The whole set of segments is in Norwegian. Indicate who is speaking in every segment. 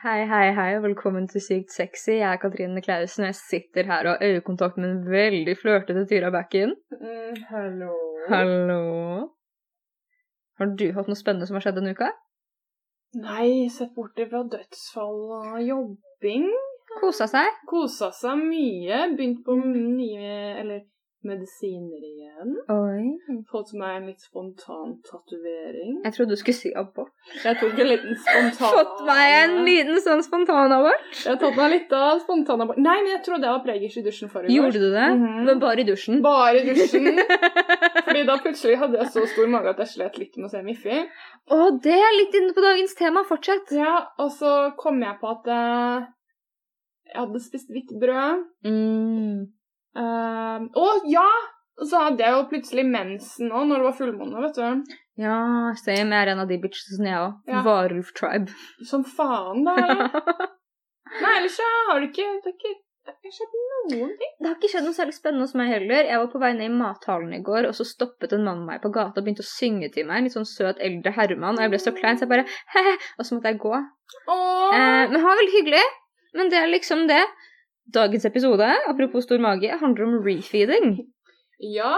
Speaker 1: Hei, hei, hei, og velkommen til Sykt sexy. Jeg er Katrine Klausen, og jeg sitter her og har øyekontakt med en veldig flørtete Tyra Bakken.
Speaker 2: Mm, hallo.
Speaker 1: Hallo. Har du hatt noe spennende som har skjedd denne uka?
Speaker 2: Nei, sett bort fra dødsfall og jobbing.
Speaker 1: Kosa seg?
Speaker 2: Kosa seg mye. Begynt på
Speaker 1: Mm.
Speaker 2: nye eller medisiner igjen.
Speaker 1: Oi.
Speaker 2: Fått meg en litt spontan tatovering.
Speaker 1: Jeg trodde du skulle si abort.
Speaker 2: Jeg tok en liten spontan
Speaker 1: Fått meg en liten sånn spontanabort.
Speaker 2: Jeg har tatt meg litt av spontan abort. Nei, men jeg trodde jeg var pregers i dusjen forrige
Speaker 1: Gjorde du det?
Speaker 2: Mhm.
Speaker 1: Men bare i dusjen?
Speaker 2: Bare i dusjen. Fordi da plutselig hadde jeg så stor mage at jeg slet litt med å se Miffi.
Speaker 1: Å, det er litt inne på dagens tema. Fortsett.
Speaker 2: Ja, og så kom jeg på at eh, jeg hadde spist hvitt brød.
Speaker 1: Mm.
Speaker 2: Eh, og ja! Og så hadde jeg jo plutselig mensen nå når det var fullmåne, vet du.
Speaker 1: Ja, same. Jeg er en av de bitchene, jeg òg.
Speaker 2: Ja.
Speaker 1: Varulf Tribe.
Speaker 2: Som faen, da. eller? Nei, ellers så har det ikke Det har ikke, det har ikke skjedd noen ting.
Speaker 1: Det har ikke skjedd noe særlig spennende hos meg heller. Jeg var på vei ned i mathallen i går, og så stoppet en mann meg på gata og begynte å synge til meg. En litt sånn søt eldre herremann. Og jeg ble så klein, så jeg bare he-he, og så måtte jeg gå.
Speaker 2: Åh,
Speaker 1: Eh, men han var veldig hyggelig. Men det er liksom det. Dagens episode, apropos stor mage, handler om refeeding.
Speaker 2: Ja!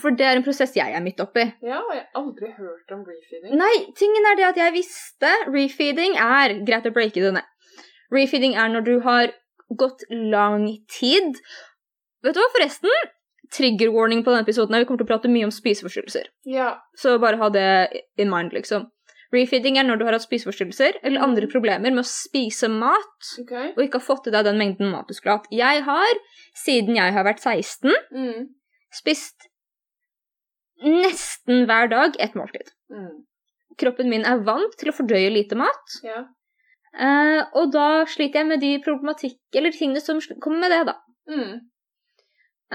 Speaker 1: For det er en prosess jeg er midt oppi.
Speaker 2: Ja, og jeg har aldri hørt om refeeding.
Speaker 1: Nei, tingen er det at jeg visste refeeding er Greit å breake det ned. Refeeding er når du har gått lang tid Vet du hva, forresten? Trigger warning på denne episoden. her. Vi kommer til å prate mye om spiseforstyrrelser.
Speaker 2: Ja.
Speaker 1: Så bare ha det in mind, liksom. Refeeding er når du har hatt spiseforstyrrelser eller andre problemer med å spise mat
Speaker 2: OK.
Speaker 1: og ikke har fått i deg den mengden mat du skulle hatt. Jeg har, siden jeg har vært 16,
Speaker 2: Mm.
Speaker 1: spist nesten hver dag et måltid.
Speaker 2: Mm.
Speaker 1: kroppen min er vant til å fordøye lite mat.
Speaker 2: Ja.
Speaker 1: Eh, og da sliter jeg med de problematikk eller tingene som sl- kommer med det, da.
Speaker 2: Mm.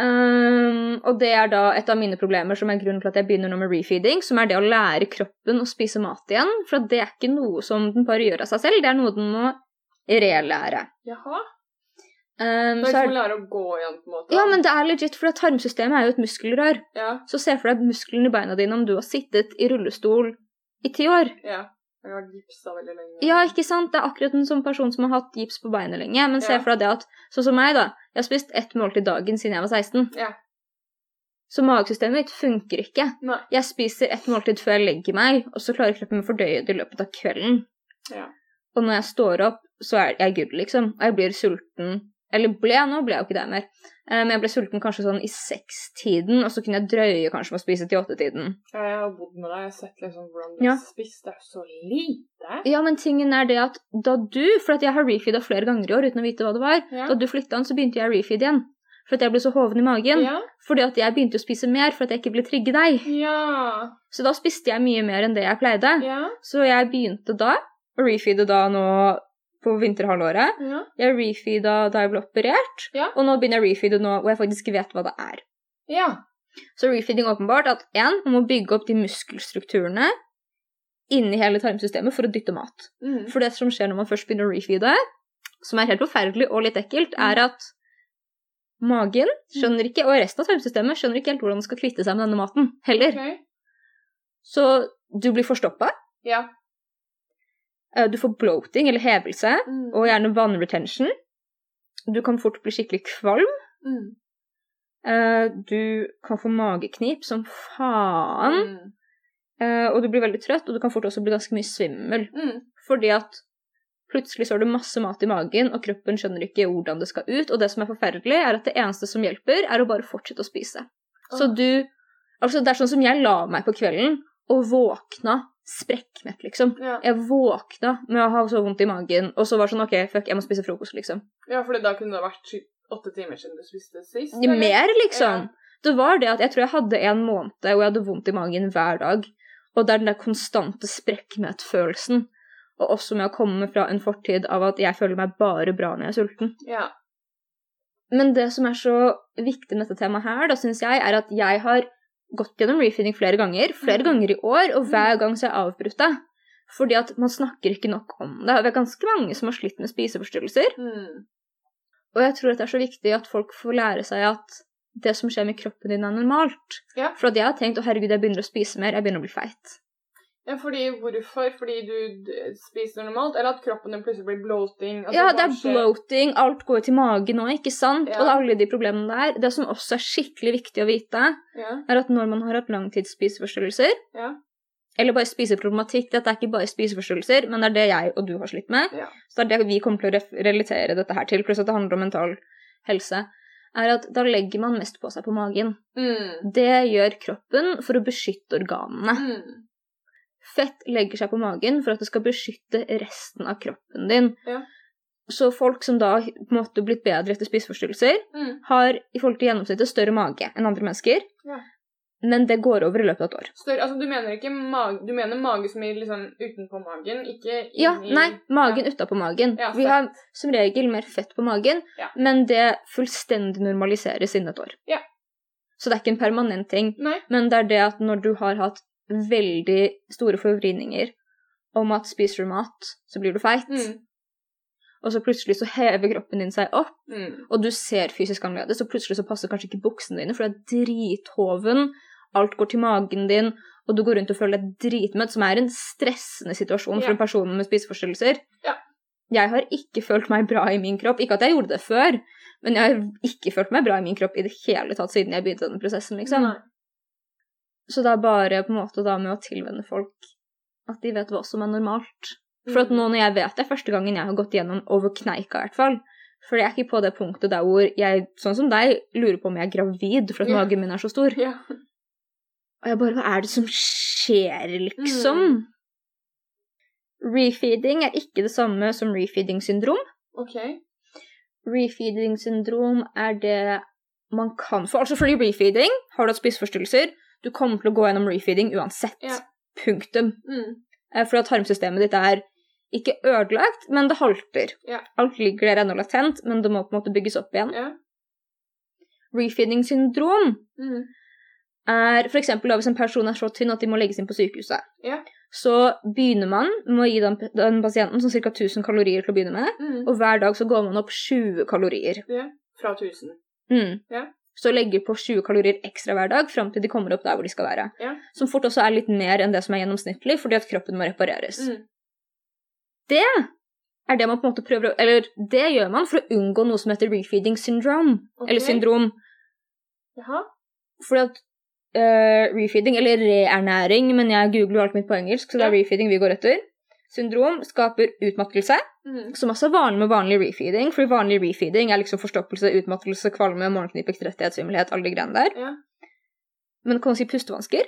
Speaker 1: Ehm, og det er da et av mine problemer som er grunnen til at jeg begynner nå med refeeding, som er det å lære kroppen å spise mat igjen. For at det er ikke noe som den bare gjør av seg selv, det er noe den må relære.
Speaker 2: Jaha.
Speaker 1: Ehm,
Speaker 2: Det er
Speaker 1: så
Speaker 2: ikke
Speaker 1: er,
Speaker 2: som å lære å gå igjen, på en måte.
Speaker 1: ja, men det er legit, for at tarmsystemet er jo et muskelrør.
Speaker 2: Ja.
Speaker 1: Så se for deg muskelen i beina dine om du har sittet i rullestol i ti år.
Speaker 2: ja. Jeg har gipsa veldig lenge.
Speaker 1: Ja, ikke sant? Det er akkurat den samme personen som har hatt gips på beinet lenge. Men se
Speaker 2: Ja.
Speaker 1: for deg det at, sånn som meg, da. Jeg har spist ett måltid dagen siden jeg var 16.
Speaker 2: Ja.
Speaker 1: Så magesystemet mitt funker ikke.
Speaker 2: Nei.
Speaker 1: Jeg spiser ett måltid før jeg legger meg, og så klarer kroppen min å fordøye det i løpet av kvelden.
Speaker 2: Ja.
Speaker 1: Og når jeg står opp, så er jeg good, liksom. Og jeg blir sulten. Eller ble, nå ble jeg jo ikke det mer. Eh, Men jeg ble sulten kanskje sånn i sekstiden, og så kunne jeg drøye kanskje med å spise til åttetiden.
Speaker 2: Ja, Jeg har bodd med deg, jeg har sett liksom hvordan du
Speaker 1: Ja.
Speaker 2: har spist. Det er jo så lite.
Speaker 1: Ja, men tingen er det at da du For at jeg har refeeda flere ganger i år uten å vite hva det var.
Speaker 2: Ja.
Speaker 1: Da du flytta den, så begynte jeg å refeede igjen. For at jeg ble så hoven i magen.
Speaker 2: Ja.
Speaker 1: Fordi at jeg begynte å spise mer for at jeg ikke ville trigge deg.
Speaker 2: Ja.
Speaker 1: Så da spiste jeg mye mer enn det jeg pleide.
Speaker 2: Ja.
Speaker 1: Så jeg begynte da å refeede da nå på vinterhalvåret.
Speaker 2: ja.
Speaker 1: Jeg refeeda da jeg ble operert,
Speaker 2: Ja.
Speaker 1: og nå begynner jeg å refeede nå hvor jeg faktisk vet hva det er.
Speaker 2: ja.
Speaker 1: Så refeeding er åpenbart at én, man må bygge opp de muskelstrukturene inni hele tarmsystemet for å dytte mat.
Speaker 2: Mm.
Speaker 1: For det som skjer når man først begynner å refeede, som er helt forferdelig og litt
Speaker 2: Mm.
Speaker 1: ekkelt, er at magen skjønner ikke, og resten av tarmsystemet skjønner ikke helt hvordan den skal kvitte seg med denne maten heller.
Speaker 2: Ok.
Speaker 1: Så du blir forstoppa,
Speaker 2: Ja.
Speaker 1: eh, du får bloating eller hevelse,
Speaker 2: Mm.
Speaker 1: og gjerne vannretention. Du kan fort bli skikkelig kvalm.
Speaker 2: Mm.
Speaker 1: eh, Du kan få mageknip som faen.
Speaker 2: Mm.
Speaker 1: eh, Og du blir veldig trøtt, og du kan fort også bli ganske mye svimmel.
Speaker 2: Mm.
Speaker 1: Fordi at plutselig så har du masse mat i magen, og kroppen skjønner ikke hvordan det skal ut. Og det som er forferdelig, er at det eneste som hjelper, er å bare fortsette å spise. Så
Speaker 2: Åh.
Speaker 1: du Altså, det er sånn som jeg la meg på kvelden og våkna sprekkmett, liksom.
Speaker 2: Ja.
Speaker 1: Jeg våkna med å ha så vondt i magen, og så var det sånn OK, fuck, jeg må spise frokost, liksom.
Speaker 2: ja, fordi da kunne det vært typ åtte timer siden du spiste sist. eller?
Speaker 1: Mer, liksom. Det var det at jeg tror jeg hadde en måned hvor jeg hadde vondt i magen hver dag. Og det er den der konstante sprekkmettfølelsen. Og også med å komme fra en fortid av at jeg føler meg bare bra når jeg er sulten.
Speaker 2: Ja.
Speaker 1: Men det som er så viktig med dette temaet her, da syns jeg, er at jeg har gått gjennom refeeding flere ganger, flere
Speaker 2: Mm.
Speaker 1: ganger i år, og hver gang så har jeg avbrutt det. Fordi at man snakker ikke nok om det. Det er ganske mange som har slitt med spiseforstyrrelser.
Speaker 2: Mm.
Speaker 1: Og jeg tror at det er så viktig at folk får lære seg at det som skjer med kroppen din, er normalt.
Speaker 2: Ja.
Speaker 1: For at jeg har tenkt å herregud, jeg begynner å spise mer, jeg begynner å bli feit.
Speaker 2: Ja, fordi hvorfor? Fordi du d- spiser normalt? Eller at kroppen din plutselig blir bloating? Altså,
Speaker 1: ja,
Speaker 2: hva
Speaker 1: det er
Speaker 2: skjer?
Speaker 1: bloating, alt går jo til magen nå, ikke sant?
Speaker 2: Ja.
Speaker 1: Og det er alle de problemene der. Det som også er skikkelig viktig å vite,
Speaker 2: Ja,
Speaker 1: er at når man har hatt langtidsspiseforstyrrelser,
Speaker 2: ja.
Speaker 1: eller bare spiseproblematikk, dette er ikke bare spiseforstyrrelser, men det er det jeg og du har slitt med,
Speaker 2: Ja.
Speaker 1: så det er det vi kommer til å ref- relatere dette her til, pluss at det handler om mental helse, er at da legger man mest på seg på magen.
Speaker 2: Mm.
Speaker 1: Det gjør kroppen for å beskytte organene.
Speaker 2: Mm.
Speaker 1: Fett legger seg på magen for at det skal beskytte resten av kroppen din.
Speaker 2: Ja.
Speaker 1: Så folk som da på en måte blitt bedre etter spiseforstyrrelser,
Speaker 2: Mm.
Speaker 1: har i forhold til gjennomsnittet større mage enn andre mennesker.
Speaker 2: Ja.
Speaker 1: Men det går over i løpet av et år.
Speaker 2: Større, altså, du mener ikke mage, du mener mage som er liksom utenpå magen, ikke inni
Speaker 1: Ja, nei, magen utapå magen.
Speaker 2: Ja,
Speaker 1: Vi
Speaker 2: fett.
Speaker 1: har som regel mer fett på magen,
Speaker 2: Ja.
Speaker 1: men det fullstendig normaliseres innen et år.
Speaker 2: Ja.
Speaker 1: Så det er ikke en permanent ting.
Speaker 2: Nei.
Speaker 1: Men det er det at når du har hatt veldig store forvridninger om at spiser du mat, så blir du feit,
Speaker 2: Mm.
Speaker 1: og så plutselig så hever kroppen din seg opp,
Speaker 2: Mm.
Speaker 1: og du ser fysisk annerledes, og plutselig så passer kanskje ikke buksene dine, for du er drithoven, alt går til magen din, og du går rundt og føler deg dritmøtt, som er en stressende situasjon
Speaker 2: Ja.
Speaker 1: for en person med spiseforstyrrelser.
Speaker 2: Ja.
Speaker 1: Jeg har ikke følt meg bra i min kropp. Ikke at jeg gjorde det før, men jeg har ikke følt meg bra i min kropp i det hele tatt siden jeg begynte denne prosessen, liksom.
Speaker 2: Nei.
Speaker 1: Så det er bare på en måte da med å tilvenne folk at de vet hva som er normalt. For at
Speaker 2: Mm.
Speaker 1: nå når jeg vet det, første gangen jeg har gått gjennom over kneika i hvert fall, for jeg er ikke på det punktet der hvor jeg, sånn som deg, lurer på om jeg er gravid for at
Speaker 2: Ja.
Speaker 1: magen min er så stor.
Speaker 2: Ja.
Speaker 1: Og jeg bare, hva er det som skjer, liksom?
Speaker 2: Mm.
Speaker 1: Refeeding er ikke det samme som refeeding-syndrom.
Speaker 2: OK.
Speaker 1: Refeeding-syndrom er det man kan få. Altså fordi refeeding, har du hatt spiseforstyrrelser, du kommer til å gå gjennom refeeding uansett.
Speaker 2: Ja.
Speaker 1: Punktum.
Speaker 2: Mm.
Speaker 1: Eh, Fordi at tarmsystemet ditt er ikke ødelagt, men det halter.
Speaker 2: Ja.
Speaker 1: Alt ligger der ennå latent, men det må på en måte bygges opp igjen.
Speaker 2: Ja.
Speaker 1: Refeeding-syndrom
Speaker 2: Mm.
Speaker 1: er f.eks. hvis en person er så tynn at de må legges inn på sykehuset.
Speaker 2: Ja.
Speaker 1: Så begynner man med å gi den, den pasienten sånn ca. 1000 kalorier til å begynne med,
Speaker 2: Mm.
Speaker 1: og hver dag så går man opp 20 kalorier.
Speaker 2: Fra 1000.
Speaker 1: Mm.
Speaker 2: Ja.
Speaker 1: Så legger på 20 kalorier ekstra hver dag fram til de kommer opp der hvor de skal være.
Speaker 2: Ja.
Speaker 1: Som fort også er litt mer enn det som er gjennomsnittlig, fordi at kroppen må repareres.
Speaker 2: Mm.
Speaker 1: er det man på en måte prøver å Eller det gjør man for å unngå noe som heter refeeding syndrome.
Speaker 2: Ok.
Speaker 1: Eller syndrom.
Speaker 2: Jaha.
Speaker 1: Fordi at eh, refeeding, eller reernæring, men jeg googler jo alt mitt på engelsk, så det er
Speaker 2: Ja.
Speaker 1: refeeding vi går etter. Syndrom skaper utmattelse,
Speaker 2: Mm.
Speaker 1: som også er vanlig med vanlig refeeding. Fordi vanlig refeeding er liksom forstoppelse, utmattelse, kvalme, morgenknip, ekstrettighet, svimmelhet, alle de greiene der.
Speaker 2: Ja.
Speaker 1: Men det kan også gi pustevansker.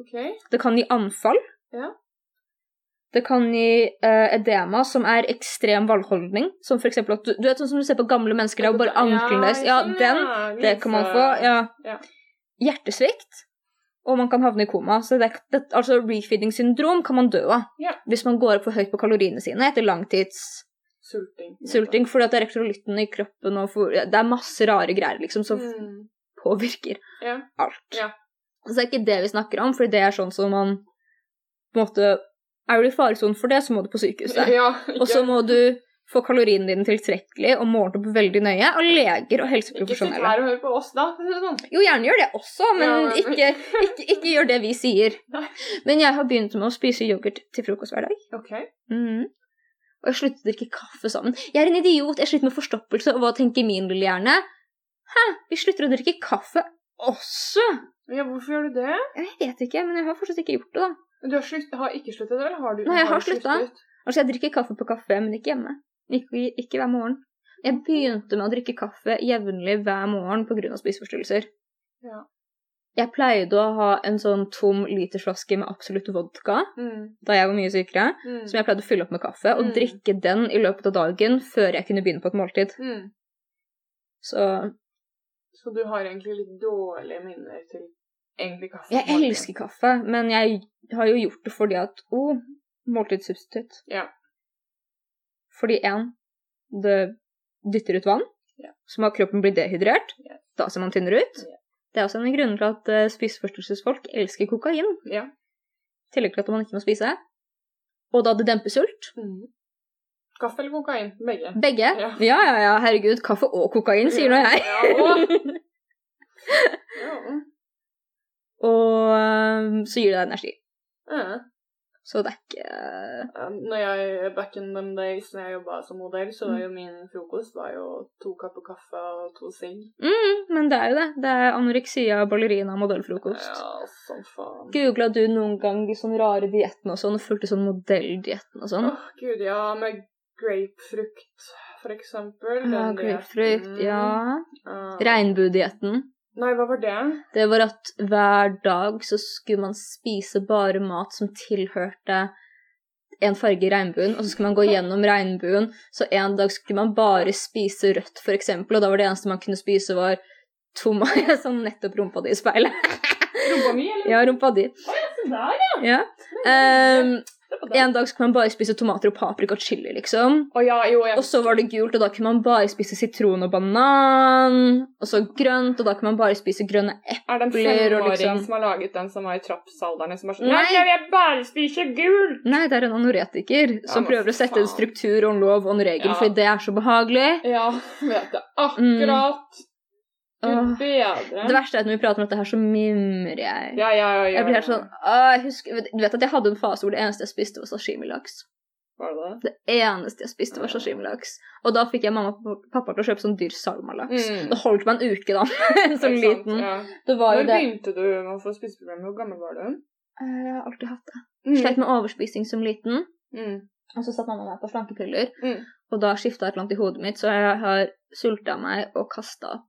Speaker 2: OK.
Speaker 1: Det kan gi anfall.
Speaker 2: Ja.
Speaker 1: Det kan gi eh, edema, som er ekstrem valgholdning. Som for eksempel at du, du vet sånn som du ser på gamle mennesker, det er jo bare ankelen deres. Ja,
Speaker 2: sånn,
Speaker 1: den,
Speaker 2: ja.
Speaker 1: det kan man få. Ja.
Speaker 2: Ja.
Speaker 1: Hjertesvikt. Og man kan havne i koma. Så det, er- det, altså refeeding syndrom kan man dø av.
Speaker 2: Ja.
Speaker 1: Hvis man går opp for høyt på kaloriene sine etter langtidssulting.
Speaker 2: Sulting.
Speaker 1: Fordi at det er elektrolyttene i kroppen og for, Det er masse rare greier liksom som
Speaker 2: Mm.
Speaker 1: påvirker
Speaker 2: Ja.
Speaker 1: alt.
Speaker 2: Ja.
Speaker 1: Så det er ikke det vi snakker om, for det er sånn som man på en måte Er du i faresonen for det, så må du på sykehuset.
Speaker 2: Ja,
Speaker 1: Og så må du få kaloriene dine tilstrekkelig og måle opp veldig nøye, og leger og
Speaker 2: ikke sitt
Speaker 1: helseprofesjonelle.
Speaker 2: her og hør på oss, da. for å si det Sånn.
Speaker 1: Jo, gjerne gjør det også, men
Speaker 2: Ja, men-
Speaker 1: Ikke, ikke, ikke gjør det vi sier.
Speaker 2: Nei.
Speaker 1: Men jeg har begynt med å spise yoghurt til frokost hver dag.
Speaker 2: OK.
Speaker 1: Mhm. Og jeg sluttet å drikke kaffe sammen. Jeg er en idiot, jeg sliter med forstoppelse, og hva tenker min lille hjerne? Hæ, vi slutter å drikke kaffe også?
Speaker 2: Ja, hvorfor gjør du det?
Speaker 1: Jeg vet ikke, men jeg har fortsatt ikke gjort det, da.
Speaker 2: Du har, slutt, har ikke sluttet, eller har du
Speaker 1: Nei, jeg har
Speaker 2: du
Speaker 1: sluttet. Altså, jeg drikker kaffe på kafé, men ikke hjemme. Ikke, ikke hver morgen. Jeg begynte med å drikke kaffe jevnlig hver morgen pga. spiseforstyrrelser.
Speaker 2: Ja.
Speaker 1: Jeg pleide å ha en sånn tom litersflaske med absolutt vodka
Speaker 2: Mm.
Speaker 1: da jeg var mye sykere,
Speaker 2: Mm.
Speaker 1: som jeg pleide å fylle opp med kaffe, og
Speaker 2: Mm.
Speaker 1: drikke den i løpet av dagen før jeg kunne begynne på et måltid.
Speaker 2: mm.
Speaker 1: Så
Speaker 2: Så du har egentlig litt dårlige minner til egentlig kaffe?
Speaker 1: jeg elsker kaffe, men jeg har jo gjort det fordi at Å, oh, måltidssubstitutt.
Speaker 2: Ja.
Speaker 1: Fordi én, det dytter ut vann,
Speaker 2: Ja.
Speaker 1: som har kroppen blir dehydrert.
Speaker 2: Ja.
Speaker 1: Da ser man tynnere ut.
Speaker 2: Ja.
Speaker 1: Det er også en av grunnene til at eh, spiseforstyrrelsesfolk elsker kokain.
Speaker 2: Ja.
Speaker 1: I tillegg til at man ikke må spise. Og da det demper sult.
Speaker 2: Mm. Kaffe eller kokain? Begge.
Speaker 1: Begge.
Speaker 2: Ja.
Speaker 1: ja, ja, ja, herregud. Kaffe og kokain, sier nå jeg.
Speaker 2: Ja, å. Ja, å.
Speaker 1: Og eh, så gir det deg energi.
Speaker 2: Ja.
Speaker 1: Så det er ikke
Speaker 2: Eh, Når jeg, back in them days, når jeg jobba som modell, så
Speaker 1: Mm.
Speaker 2: var jo min frokost var jo to kapper kaffe og to sigg.
Speaker 1: mm, Men det er jo det. Det er anoreksia, ballerina, modellfrokost.
Speaker 2: Ja, som faen.
Speaker 1: Googla du noen gang de sånne rare diettene og sånn, og fulgte sånn modelldietten og sånn?
Speaker 2: Åh, gud, ja. Med grapefrukt, for
Speaker 1: Ja,
Speaker 2: eksempel. den Mm. dietten.
Speaker 1: Ah, Grapefrukt, ja.
Speaker 2: Eh,
Speaker 1: Regnbuedietten.
Speaker 2: Nei, hva var det?
Speaker 1: Det var at hver dag så skulle man spise bare mat som tilhørte en farge i regnbuen, og så skulle man gå gjennom regnbuen. Så en dag skulle man bare spise rødt, for eksempel, og da var det eneste man kunne spise, var toma Jeg så nettopp rumpa di i speilet.
Speaker 2: Rumpa mi, eller?
Speaker 1: Ja, rumpa di.
Speaker 2: Se der, ja!
Speaker 1: Ja. Ehm,
Speaker 2: Se på den.
Speaker 1: en dag skulle man bare spise tomater og paprika og chili, liksom.
Speaker 2: Å ja, jo, jeg
Speaker 1: Og så var det gult, og da kunne man bare spise sitron og banan. Og så grønt, og da kunne man bare spise grønne epler.
Speaker 2: Er det en
Speaker 1: Blir og
Speaker 2: femåring
Speaker 1: liksom-
Speaker 2: som har laget den som var i trappsalderen? Som er sånn,
Speaker 1: Nei.
Speaker 2: Nei, jeg vil bare spise gul!
Speaker 1: Nei, det er en anoretiker som
Speaker 2: men
Speaker 1: prøver å sette en
Speaker 2: faen.
Speaker 1: struktur og en lov og en regel,
Speaker 2: Ja.
Speaker 1: fordi det er så behagelig.
Speaker 2: Ja, vet jeg. Akkurat. Gud
Speaker 1: Mm. Åh.
Speaker 2: bedre.
Speaker 1: Det verste er at når vi prater om dette her, så mimrer jeg.
Speaker 2: Ja, ja, ja, ja.
Speaker 1: Jeg blir helt sånn «Åh, jeg husker, Du vet at jeg hadde en fase hvor det eneste jeg spiste, var sashimilaks.
Speaker 2: Var det det?
Speaker 1: Det eneste jeg spiste, var sashimilaks. Og da fikk jeg mamma og pappa til å kjøpe sånn dyr salmalaks.
Speaker 2: Mm.
Speaker 1: Det holdt meg en uke, da. En sånn
Speaker 2: Ikke sant,
Speaker 1: liten.
Speaker 2: Ja.
Speaker 1: Det var
Speaker 2: Når
Speaker 1: jo det.
Speaker 2: begynte du med å få spiseproblemer? Hvor gammel var du?
Speaker 1: Eh, Jeg har alltid hatt det.
Speaker 2: Mm.
Speaker 1: Sleit med overspising som liten.
Speaker 2: Mm.
Speaker 1: Og så satt mamma meg på slankepiller,
Speaker 2: Mm.
Speaker 1: og da skifta et eller annet i hodet mitt, så jeg har sulta meg og kasta opp.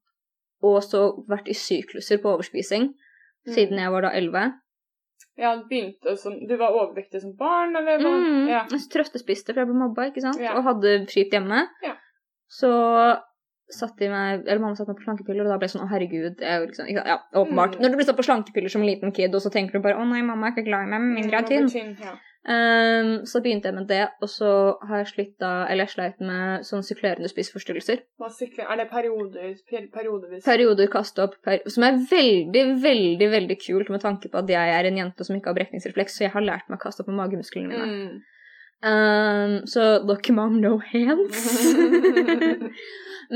Speaker 1: Og så vært i sykluser på overspising
Speaker 2: Mm.
Speaker 1: siden jeg var da 11.
Speaker 2: Ja, du begynte som Du var overvektig som barn, eller hva?
Speaker 1: Mm.
Speaker 2: Ja.
Speaker 1: Jeg trøttespiste, for jeg ble mobba, ikke sant?
Speaker 2: Ja.
Speaker 1: og hadde skitt hjemme.
Speaker 2: Ja.
Speaker 1: Så satt de meg, eller mamma satte meg på slankepiller, og da ble jeg sånn å herregud. Jeg, er jo liksom, ikke sant? ja, åpenbart.
Speaker 2: Mm.
Speaker 1: Når du blir satt på slankepiller som liten kid, og så tenker du bare å nei, mamma er ikke glad i meg, med mindre jeg er tynn.
Speaker 2: Mm, ja.
Speaker 1: Ehm, så begynte jeg med det, og så har jeg slitt da, eller jeg sleit med sånn syklerende spiseforstyrrelser.
Speaker 2: Hva sykler- Er det perioder, per, periodevis?
Speaker 1: Perioder kaste opp, per som er veldig, veldig veldig kult med tanke på at jeg er en jente som ikke har brekningsrefleks, så jeg har lært meg å kaste opp med magemusklene mine.
Speaker 2: Mm.
Speaker 1: Ehm, så look mom, no hands.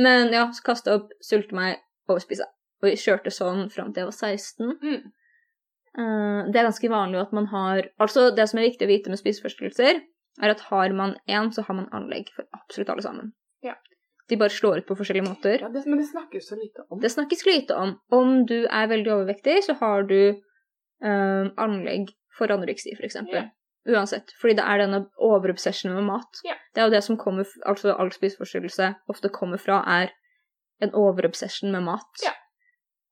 Speaker 1: Men ja, så kaste opp, sulte meg, overspise. Og jeg kjørte sånn fram til jeg var 16.
Speaker 2: Mm.
Speaker 1: Eh, det er ganske vanlig at man har Altså, det som er viktig å vite med spiseforstyrrelser, er at har man én, så har man anlegg for absolutt alle sammen.
Speaker 2: Ja.
Speaker 1: De bare slår ut på forskjellige måter.
Speaker 2: ja, det, men det snakkes så lite om.
Speaker 1: Det snakkes lite om. Om du er veldig overvektig, så har du eh, anlegg for anoreksi, f.eks.
Speaker 2: Ja.
Speaker 1: Uansett. Fordi det er denne overobsessionen med mat.
Speaker 2: Ja.
Speaker 1: Det er jo det som kommer, f- altså all spiseforstyrrelse ofte kommer fra, er en overobsession med mat.
Speaker 2: Ja.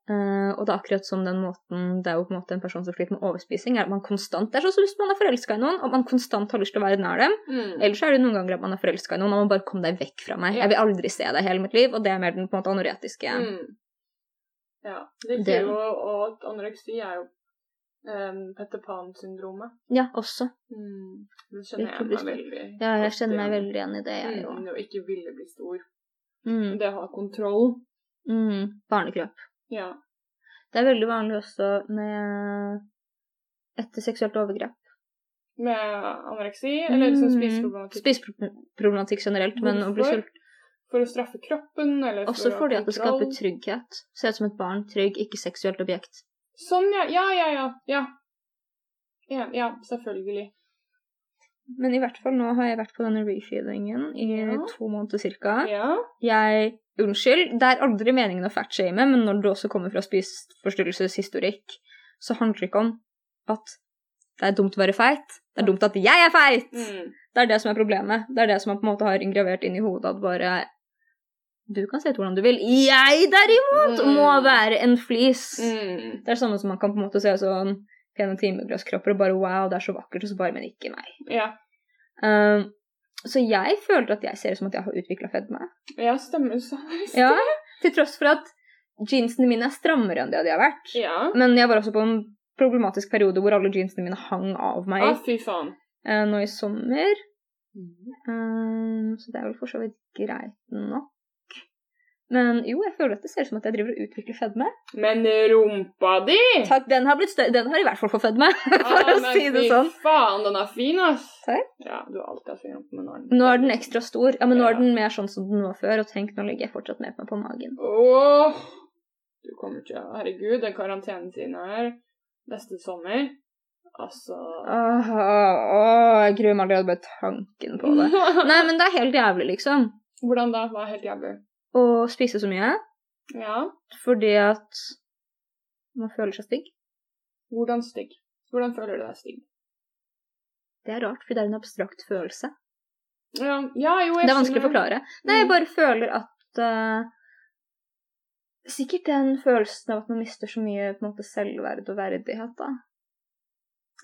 Speaker 1: Eh, og det er akkurat som den måten det er jo på en måte en person som sliter med overspising, er at man konstant Det er sånn som hvis man er forelska i noen, og man konstant har lyst til å være nær dem.
Speaker 2: Mm.
Speaker 1: Ellers er det noen ganger at man er forelska i noen, og man bare kom deg vekk fra meg.
Speaker 2: Ja.
Speaker 1: Jeg vil aldri se deg i hele mitt liv, og det er mer den på en måte anoretiske
Speaker 2: Mm. Ja. De
Speaker 1: Det-
Speaker 2: sier jo og at anoreksi er jo em, Petter Pan-syndromet.
Speaker 1: Ja, også.
Speaker 2: Mm. Det kjenner jeg
Speaker 1: Virkelig
Speaker 2: meg veldig
Speaker 1: Ja, jeg
Speaker 2: godt
Speaker 1: kjenner meg
Speaker 2: igjen.
Speaker 1: veldig igjen i det, jeg òg.
Speaker 2: Mm, det å ikke ville bli stor.
Speaker 1: Mm.
Speaker 2: Det å ha kontroll.
Speaker 1: Mm. Barnekrøp.
Speaker 2: Ja.
Speaker 1: Det er veldig vanlig også med etter seksuelt overgrep.
Speaker 2: Med anoreksi, eller liksom
Speaker 1: Mm.
Speaker 2: spiseproblematikk.
Speaker 1: Spiseproblematikk generelt, men å bli
Speaker 2: Hvorfor?
Speaker 1: sult.
Speaker 2: For å straffe kroppen, eller
Speaker 1: Også
Speaker 2: for å ha
Speaker 1: fordi at det
Speaker 2: kontroll.
Speaker 1: skaper trygghet. Se ut som et barn, trygg, ikke seksuelt objekt.
Speaker 2: Sånn, ja. Ja, ja, ja. Ja, ja, ja selvfølgelig.
Speaker 1: Men i hvert fall nå har jeg vært på denne refeedingen i
Speaker 2: Ja.
Speaker 1: to måneder cirka.
Speaker 2: Ja.
Speaker 1: Jeg Unnskyld, det er aldri meningen å fatshame, men når det også kommer fra spiseforstyrrelseshistorikk, så handler det ikke om at det er dumt å være feit. Det er dumt at jeg er feit!
Speaker 2: Mm.
Speaker 1: Det er det som er problemet. Det er det som man på en måte har inngravert inn i hodet at bare Du kan se ut hvordan du vil. Jeg derimot må være en flis.
Speaker 2: Mm.
Speaker 1: Det er det samme som man kan på en måte se sånn pene timeglasskropper og bare wow, det er så vakkert, og så bare men ikke meg.
Speaker 2: Ja.
Speaker 1: Um, så jeg føler at jeg ser ut som at jeg har utvikla fedme.
Speaker 2: ja, stemmer så visst.
Speaker 1: Ja, til tross for at jeansene mine er strammere enn det de har vært.
Speaker 2: ja.
Speaker 1: Men jeg var også på en problematisk periode hvor alle jeansene mine hang av meg
Speaker 2: Ah, Mm. fy faen.
Speaker 1: eh, nå i sommer. Ehm, så det er vel for så vidt greit nok. Men jo, jeg føler at det ser ut som at jeg driver og utvikler fedme.
Speaker 2: Men rumpa di!
Speaker 1: Takk, Den har, blitt stø- den har i hvert fall fått fedme, for
Speaker 2: Ah,
Speaker 1: å
Speaker 2: men
Speaker 1: si det
Speaker 2: fy
Speaker 1: sånn.
Speaker 2: faen, den er fin, ass.
Speaker 1: Takk.
Speaker 2: Ja, du har alltid hatt fin rumpe, men nå er den
Speaker 1: Nå er den ekstra stor. Ja, men nå er
Speaker 2: Ja.
Speaker 1: den mer sånn som den var før. Og tenk, nå legger jeg fortsatt med meg på magen.
Speaker 2: Åh! Du kommer til å Herregud, den karantenetiden her neste sommer Altså
Speaker 1: Åh, åh, åh, jeg gruer meg allerede bare tanken på det. Nei, men det er helt jævlig, liksom.
Speaker 2: Hvordan da? Hva er helt jævlig?
Speaker 1: Å spise så mye
Speaker 2: Ja.
Speaker 1: fordi at man føler seg stygg.
Speaker 2: Hvordan stygg? Hvordan føler du deg stygg?
Speaker 1: Det er rart, for det er en abstrakt følelse.
Speaker 2: Ja, ja jo, jeg
Speaker 1: Det er vanskelig å
Speaker 2: skjønner.
Speaker 1: forklare. Nei, jeg bare føler at eh, Sikkert den følelsen av at man mister så mye på en måte selvverd og verdighet, da.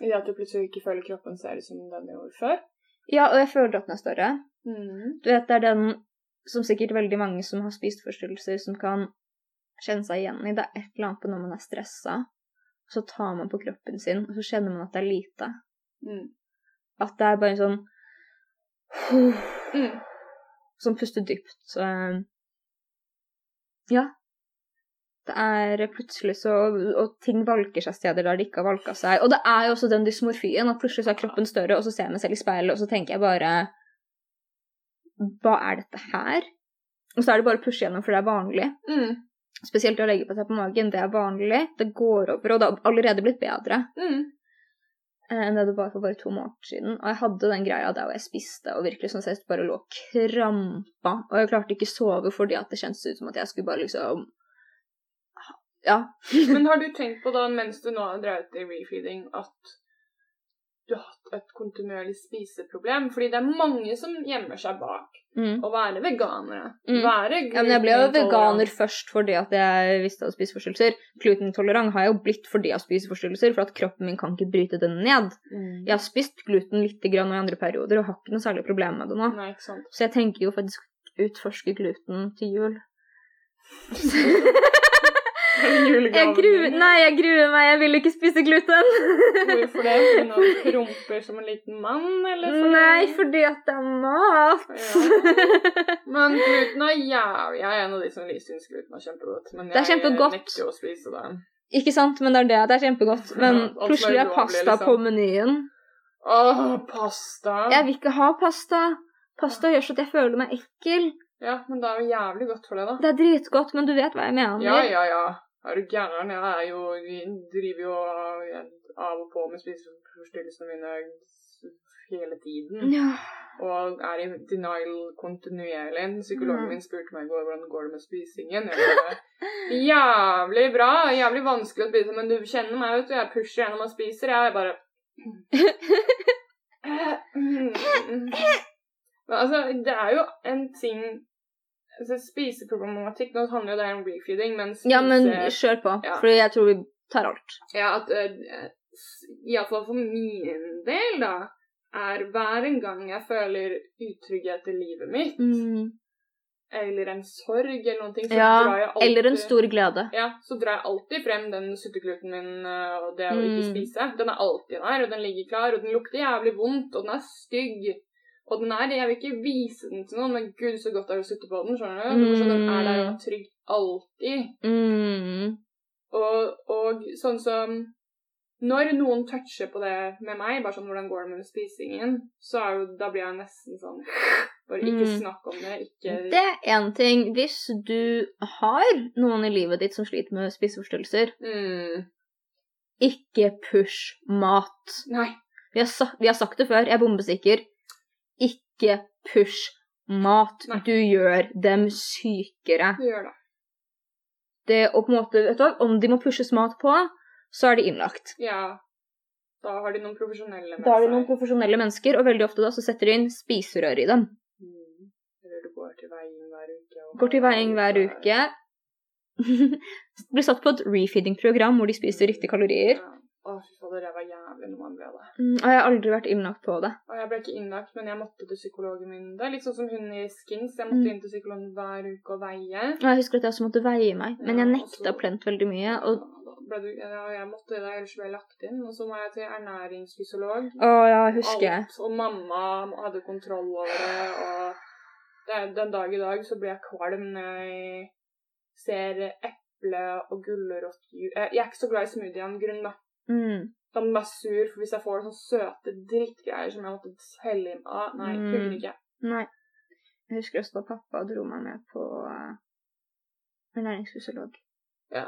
Speaker 2: I det at du plutselig ikke føler kroppen ser ut som den gjorde før. Mm.
Speaker 1: Ja, og jeg føler at den er større. Du vet, det er den som sikkert veldig mange som har spiseforstyrrelser, som kan kjenne seg igjen i. Det er et eller annet på når man er stressa, så tar man på kroppen sin, og så kjenner man at det er lite.
Speaker 2: Mm.
Speaker 1: At det er bare en sånn
Speaker 2: Mm.
Speaker 1: Som puster dypt. Så, eh, ja. Det er plutselig så Og ting valker seg steder der det ikke har valka seg. Og det er jo også den dysmorfien at plutselig så er kroppen større, og så ser jeg meg selv i speilet, og så tenker jeg bare Hva er dette her? Og så er det bare å pushe gjennom, for det er vanlig.
Speaker 2: Mm.
Speaker 1: Spesielt det å legge på seg på magen. Det er vanlig. Det går over, og det har allerede blitt bedre
Speaker 2: Mm.
Speaker 1: eh, enn det det var for bare to måneder siden. Og jeg hadde den greia der hvor jeg spiste og virkelig sånn sett bare lå og krampa. Og jeg klarte ikke sove fordi at det kjentes ut som at jeg skulle bare liksom Ja.
Speaker 2: Men har du tenkt på da, mens du nå har drevet i refeeding, at du har hatt et kontinuerlig spiseproblem? Fordi det er mange som gjemmer seg bak
Speaker 1: Mm.
Speaker 2: å være veganere.
Speaker 1: Mm.
Speaker 2: Være
Speaker 1: Ja, men jeg ble jo
Speaker 2: glutenintolerant.
Speaker 1: veganer først fordi at jeg visste jeg hadde spiseforstyrrelser. Glutenintolerant har jeg jo blitt fordi jeg har spiseforstyrrelser, for at kroppen min kan ikke bryte det ned.
Speaker 2: Mm.
Speaker 1: Jeg har spist gluten lite grann og i andre perioder og har ikke noe særlig problem med det nå.
Speaker 2: Nei, ikke sant.
Speaker 1: Så jeg tenker jo faktisk utforske gluten til jul. Jeg gruer, nei, jeg gruer meg, jeg vil ikke spise gluten.
Speaker 2: Hvorfor det? Fordi nå promper som en liten mann, eller? fordi-
Speaker 1: Nei, fordi at det er mat.
Speaker 2: Men gluten er jævlig Jeg er en av de som syns gluten er kjempegodt. Men
Speaker 1: Det er
Speaker 2: jeg
Speaker 1: kjempegodt.
Speaker 2: nekter jo å spise det.
Speaker 1: Ikke sant, men det er det. Det er kjempegodt. Men
Speaker 2: Ja, alt som er
Speaker 1: plutselig er
Speaker 2: ulovlig,
Speaker 1: pasta
Speaker 2: liksom.
Speaker 1: på menyen.
Speaker 2: Åh, pasta!
Speaker 1: Jeg vil ikke ha pasta. Pasta gjør så at jeg føler meg ekkel.
Speaker 2: Ja, men det er jo jævlig godt for deg, da.
Speaker 1: Det er dritgodt, men du vet hva jeg mener.
Speaker 2: Ja, ja, ja. Er du gæren? Jeg er jo Vi driver jo jeg, av og på med spiseforstyrrelsene mine hele tiden.
Speaker 1: Ja.
Speaker 2: Og er i denial kontinuerlig. Psykologen
Speaker 1: Ja.
Speaker 2: min spurte meg i går hvordan går det med spisingen. Jeg bare, jævlig bra. Jævlig vanskelig å spise, men du kjenner meg, vet du. Jeg pusher gjennom og spiser. Jeg bare Men mm." altså, det er jo en ting altså, Spiseproblematikk Nå handler jo det om refeeding, men spise
Speaker 1: ja, men kjør på,
Speaker 2: Ja.
Speaker 1: for jeg tror vi tar alt.
Speaker 2: ja, at eh, iallfall for min del, da, er hver en gang jeg føler utrygghet i livet mitt, eller en sorg eller noen ting, så drar jeg
Speaker 1: Mm. Ja,
Speaker 2: alltid
Speaker 1: eller en stor glede.
Speaker 2: ja, så drar jeg alltid frem den suttekluten min eh, og det å ikke
Speaker 1: Mm.
Speaker 2: spise. Den er alltid der, og den ligger klar, og den lukter jævlig vondt, og den er stygg. Og den er, jeg vil ikke vise den til noen, men gud, så godt det er å sutte på den, skjønner du? Så den er der og er trygg alltid.
Speaker 1: Mm.
Speaker 2: Og, og sånn som Når noen toucher på det med meg, bare sånn hvordan går det med spisingen, så er jo, da blir jeg nesten sånn Bare ikke
Speaker 1: Mm.
Speaker 2: snakk om det, ikke
Speaker 1: Det er én ting. Hvis du har noen i livet ditt som sliter med spiseforstyrrelser,
Speaker 2: mm.
Speaker 1: ikke push mat.
Speaker 2: Nei.
Speaker 1: Vi har, sa vi har sagt det før, jeg er bombesikker. Ikke push mat.
Speaker 2: Nei.
Speaker 1: Du gjør dem sykere.
Speaker 2: Du gjør det.
Speaker 1: Det å på en måte, vet du, hva, Om de må pushes mat på, så er de innlagt.
Speaker 2: Ja. Da har de noen profesjonelle med
Speaker 1: Da er det noen profesjonelle mennesker, og veldig ofte da så setter de inn spiserør i dem.
Speaker 2: Mm. Eller du går til veiing hver uke. og-
Speaker 1: Går til veiing hver uke. Blir satt på et refeeding-program hvor de spiser riktige kalorier.
Speaker 2: Ja. Å, fy fader, det var jævlig når man ble det.
Speaker 1: Mm, Og jeg har aldri vært innlagt på det.
Speaker 2: Og jeg ble ikke innlagt, men jeg måtte til psykologen min. Det er litt sånn som hun i Skins. Jeg måtte
Speaker 1: Mm.
Speaker 2: inn til psykologen hver uke og veie.
Speaker 1: Og jeg husker at jeg også måtte veie meg, men jeg
Speaker 2: Ja,
Speaker 1: nekta
Speaker 2: altså-
Speaker 1: plent veldig mye.
Speaker 2: Ja,
Speaker 1: Og
Speaker 2: da ble du, ja, jeg måtte det, ellers ble jeg lagt inn. Og så må jeg til ernæringsfysiolog.
Speaker 1: Å ja, jeg husker jeg.
Speaker 2: Alt, og mamma hadde kontroll over det, og det, den dag i dag så blir jeg kvalm når jeg ser eple og gulrotjus. Jeg, jeg er ikke så glad i smoothie av en grunn, da.
Speaker 1: Mm.
Speaker 2: Da må jeg være sur, for hvis jeg får sånne søte drittgreier som jeg måtte helle inn av Nei,
Speaker 1: Mm.
Speaker 2: kunne ikke.
Speaker 1: Nei. Jeg husker også da pappa dro meg med på uh, eh, ernæringsfysiolog.
Speaker 2: Ja.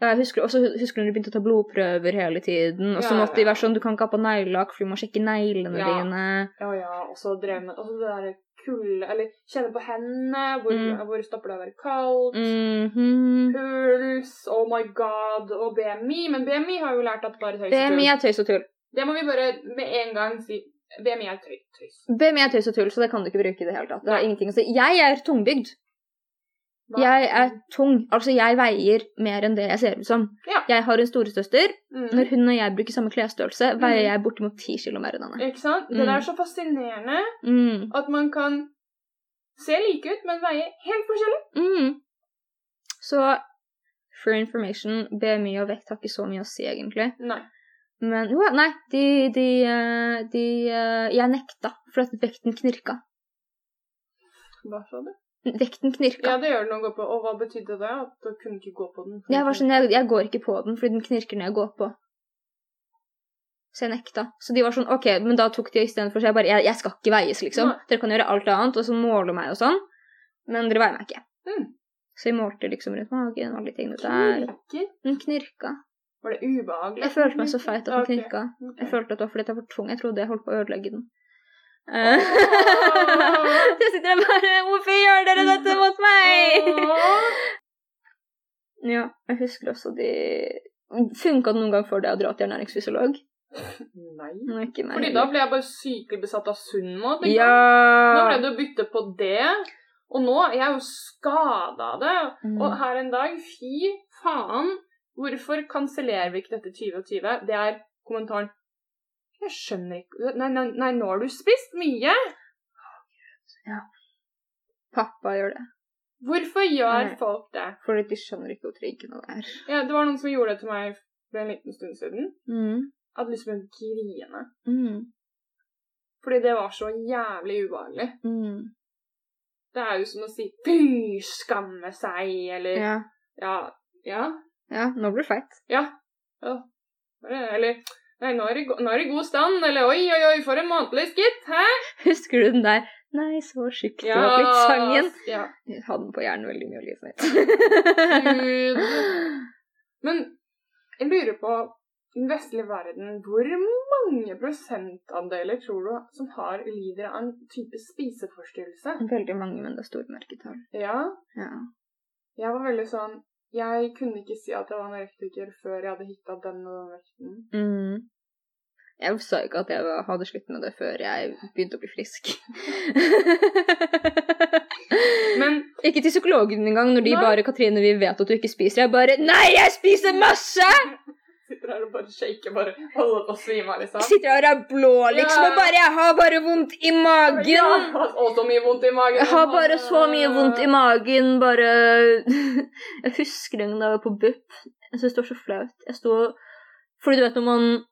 Speaker 1: Ja, jeg husker, også hu- husker når du begynte å ta blodprøver hele tiden. Og så
Speaker 2: Ja,
Speaker 1: måtte de
Speaker 2: ja.
Speaker 1: være sånn Du kan ikke ha på neglelakk, for du må sjekke neglene
Speaker 2: Ja.
Speaker 1: dine.
Speaker 2: Ja, ja, og så drev med Og så det derre kulde Eller kjenne på hendene. Hvor,
Speaker 1: Mm.
Speaker 2: hvor stopper det å være kaldt?
Speaker 1: Mhm.
Speaker 2: Puls, oh my god, og BMI. Men BMI har jo lært at bare tøys og tull.
Speaker 1: BMI er tøys og tull.
Speaker 2: Det må vi bare med en gang si. BMI er tøy, tøys.
Speaker 1: BMI er tøys og tull, så det kan du ikke bruke i det hele tatt. Det har ingenting å si. Jeg er tungbygd.
Speaker 2: Hva-
Speaker 1: Jeg er tung. Altså, jeg veier mer enn det jeg ser ut som.
Speaker 2: Ja.
Speaker 1: Jeg har en storesøster.
Speaker 2: mm.
Speaker 1: Når hun og jeg bruker samme klesstørrelse, veier
Speaker 2: Mm.
Speaker 1: jeg bortimot ti kilo mer enn henne.
Speaker 2: Ikke sant?
Speaker 1: Mm.
Speaker 2: Det der er så fascinerende
Speaker 1: Mm.
Speaker 2: at man kan se like ut, men veie helt forskjellig.
Speaker 1: Mm. Så for information, BMI og vekt har ikke så mye å si, egentlig.
Speaker 2: Nei.
Speaker 1: Men jo, nei, de, de, eh, de eh, Jeg nekta, for at vekten knirka.
Speaker 2: Hva sa du?
Speaker 1: Vekten knirka.
Speaker 2: Ja, det gjør det noe å gå på. Og hva betydde det? At du kunne ikke gå på den?
Speaker 1: Jeg var sånn, jeg, jeg går ikke på den, fordi den knirker når jeg går på. Så jeg nekta. Så de var sånn, ok, men da tok de istedenfor så jeg bare, jeg, jeg skal ikke veies, liksom.
Speaker 2: Nei.
Speaker 1: Dere kan gjøre alt annet, og så måle meg og sånn, men dere veier meg ikke.
Speaker 2: Mm.
Speaker 1: Så jeg målte liksom rundt magen og alle de tingene der.
Speaker 2: Knirker?
Speaker 1: Den knirka.
Speaker 2: Var det ubehagelig?
Speaker 1: Jeg følte meg så feit at den
Speaker 2: Ok,
Speaker 1: knirka.
Speaker 2: ok.
Speaker 1: Jeg følte at det var fordi jeg var for tung. Jeg trodde jeg holdt på å ødelegge den. Eh,
Speaker 2: Åh.
Speaker 1: jeg sitter der bare Hvorfor gjør dere dette mot meg?
Speaker 2: Åh.
Speaker 1: ja, jeg husker også de Funka det noen gang før det å dra til ernæringsfysiolog?
Speaker 2: Nei.
Speaker 1: Nei, ikke meg
Speaker 2: Fordi da
Speaker 1: heller.
Speaker 2: ble jeg bare sykelig besatt av sunn mat. ikke sant? Nå
Speaker 1: Ja!
Speaker 2: ble det å bytte på det. Og nå jeg er jeg jo skada av det.
Speaker 1: Mm.
Speaker 2: Og her en dag Fy faen! Hvorfor kansellerer vi ikke dette 2020? Det er kommentaren. Jeg skjønner ikke Nei, nei, nei nå har du spist mye!
Speaker 1: Pappa gjør det.
Speaker 2: Hvorfor gjør
Speaker 1: Nei.
Speaker 2: folk det?
Speaker 1: Fordi de skjønner ikke hvor triggende det er.
Speaker 2: Ja, det var noen som gjorde det til meg for en liten stund siden.
Speaker 1: Mm.
Speaker 2: Jeg hadde lyst til å grine.
Speaker 1: Mm.
Speaker 2: Fordi det var så jævlig ubehagelig.
Speaker 1: Mm.
Speaker 2: Det er jo som å si 'fy, skamme seg', eller
Speaker 1: Ja.
Speaker 2: Ja. ja.
Speaker 1: ja, nå blir du feit.
Speaker 2: Eller Nei, nå er, det, go- nå er det god stand. Eller oi, oi, oi, for en matlyst, gitt. Hæ?
Speaker 1: Husker du den der 'Nei, så tjukk du har blitt'-sangen?
Speaker 2: Ja.
Speaker 1: Jeg hadde den på hjernen veldig mye av livet mitt.
Speaker 2: Gud. Men jeg lurer på i den vestlige verden, hvor mange prosentandeler tror du som har lider av en type spiseforstyrrelse?
Speaker 1: Veldig mange, men det er store mørketall.
Speaker 2: Ja,
Speaker 1: Ja.
Speaker 2: jeg var veldig sånn Jeg kunne ikke si at jeg var anorektiker før jeg hadde hitta den og den vekten.
Speaker 1: Mm. Jeg sa ikke at jeg var- hadde slutt med det før jeg begynte å bli frisk.
Speaker 2: Men
Speaker 1: ikke til psykologen engang, når de
Speaker 2: Nei.
Speaker 1: bare 'Katrine, vi vet at du ikke spiser'. Jeg bare 'Nei, jeg spiser masse!'
Speaker 2: sitter her og bare shaker, bare holder på å svime av, liksom.
Speaker 1: Jeg sitter her og er blå, liksom,
Speaker 2: Ja.
Speaker 1: og bare 'Jeg har bare vondt i magen'.
Speaker 2: Ja, og så mye vondt i magen. Mm.
Speaker 1: Jeg har bare så mye vondt i magen, bare Jeg husker en gang da jeg var på BUP. Jeg syns det var så flaut. Jeg sto Fordi du vet når man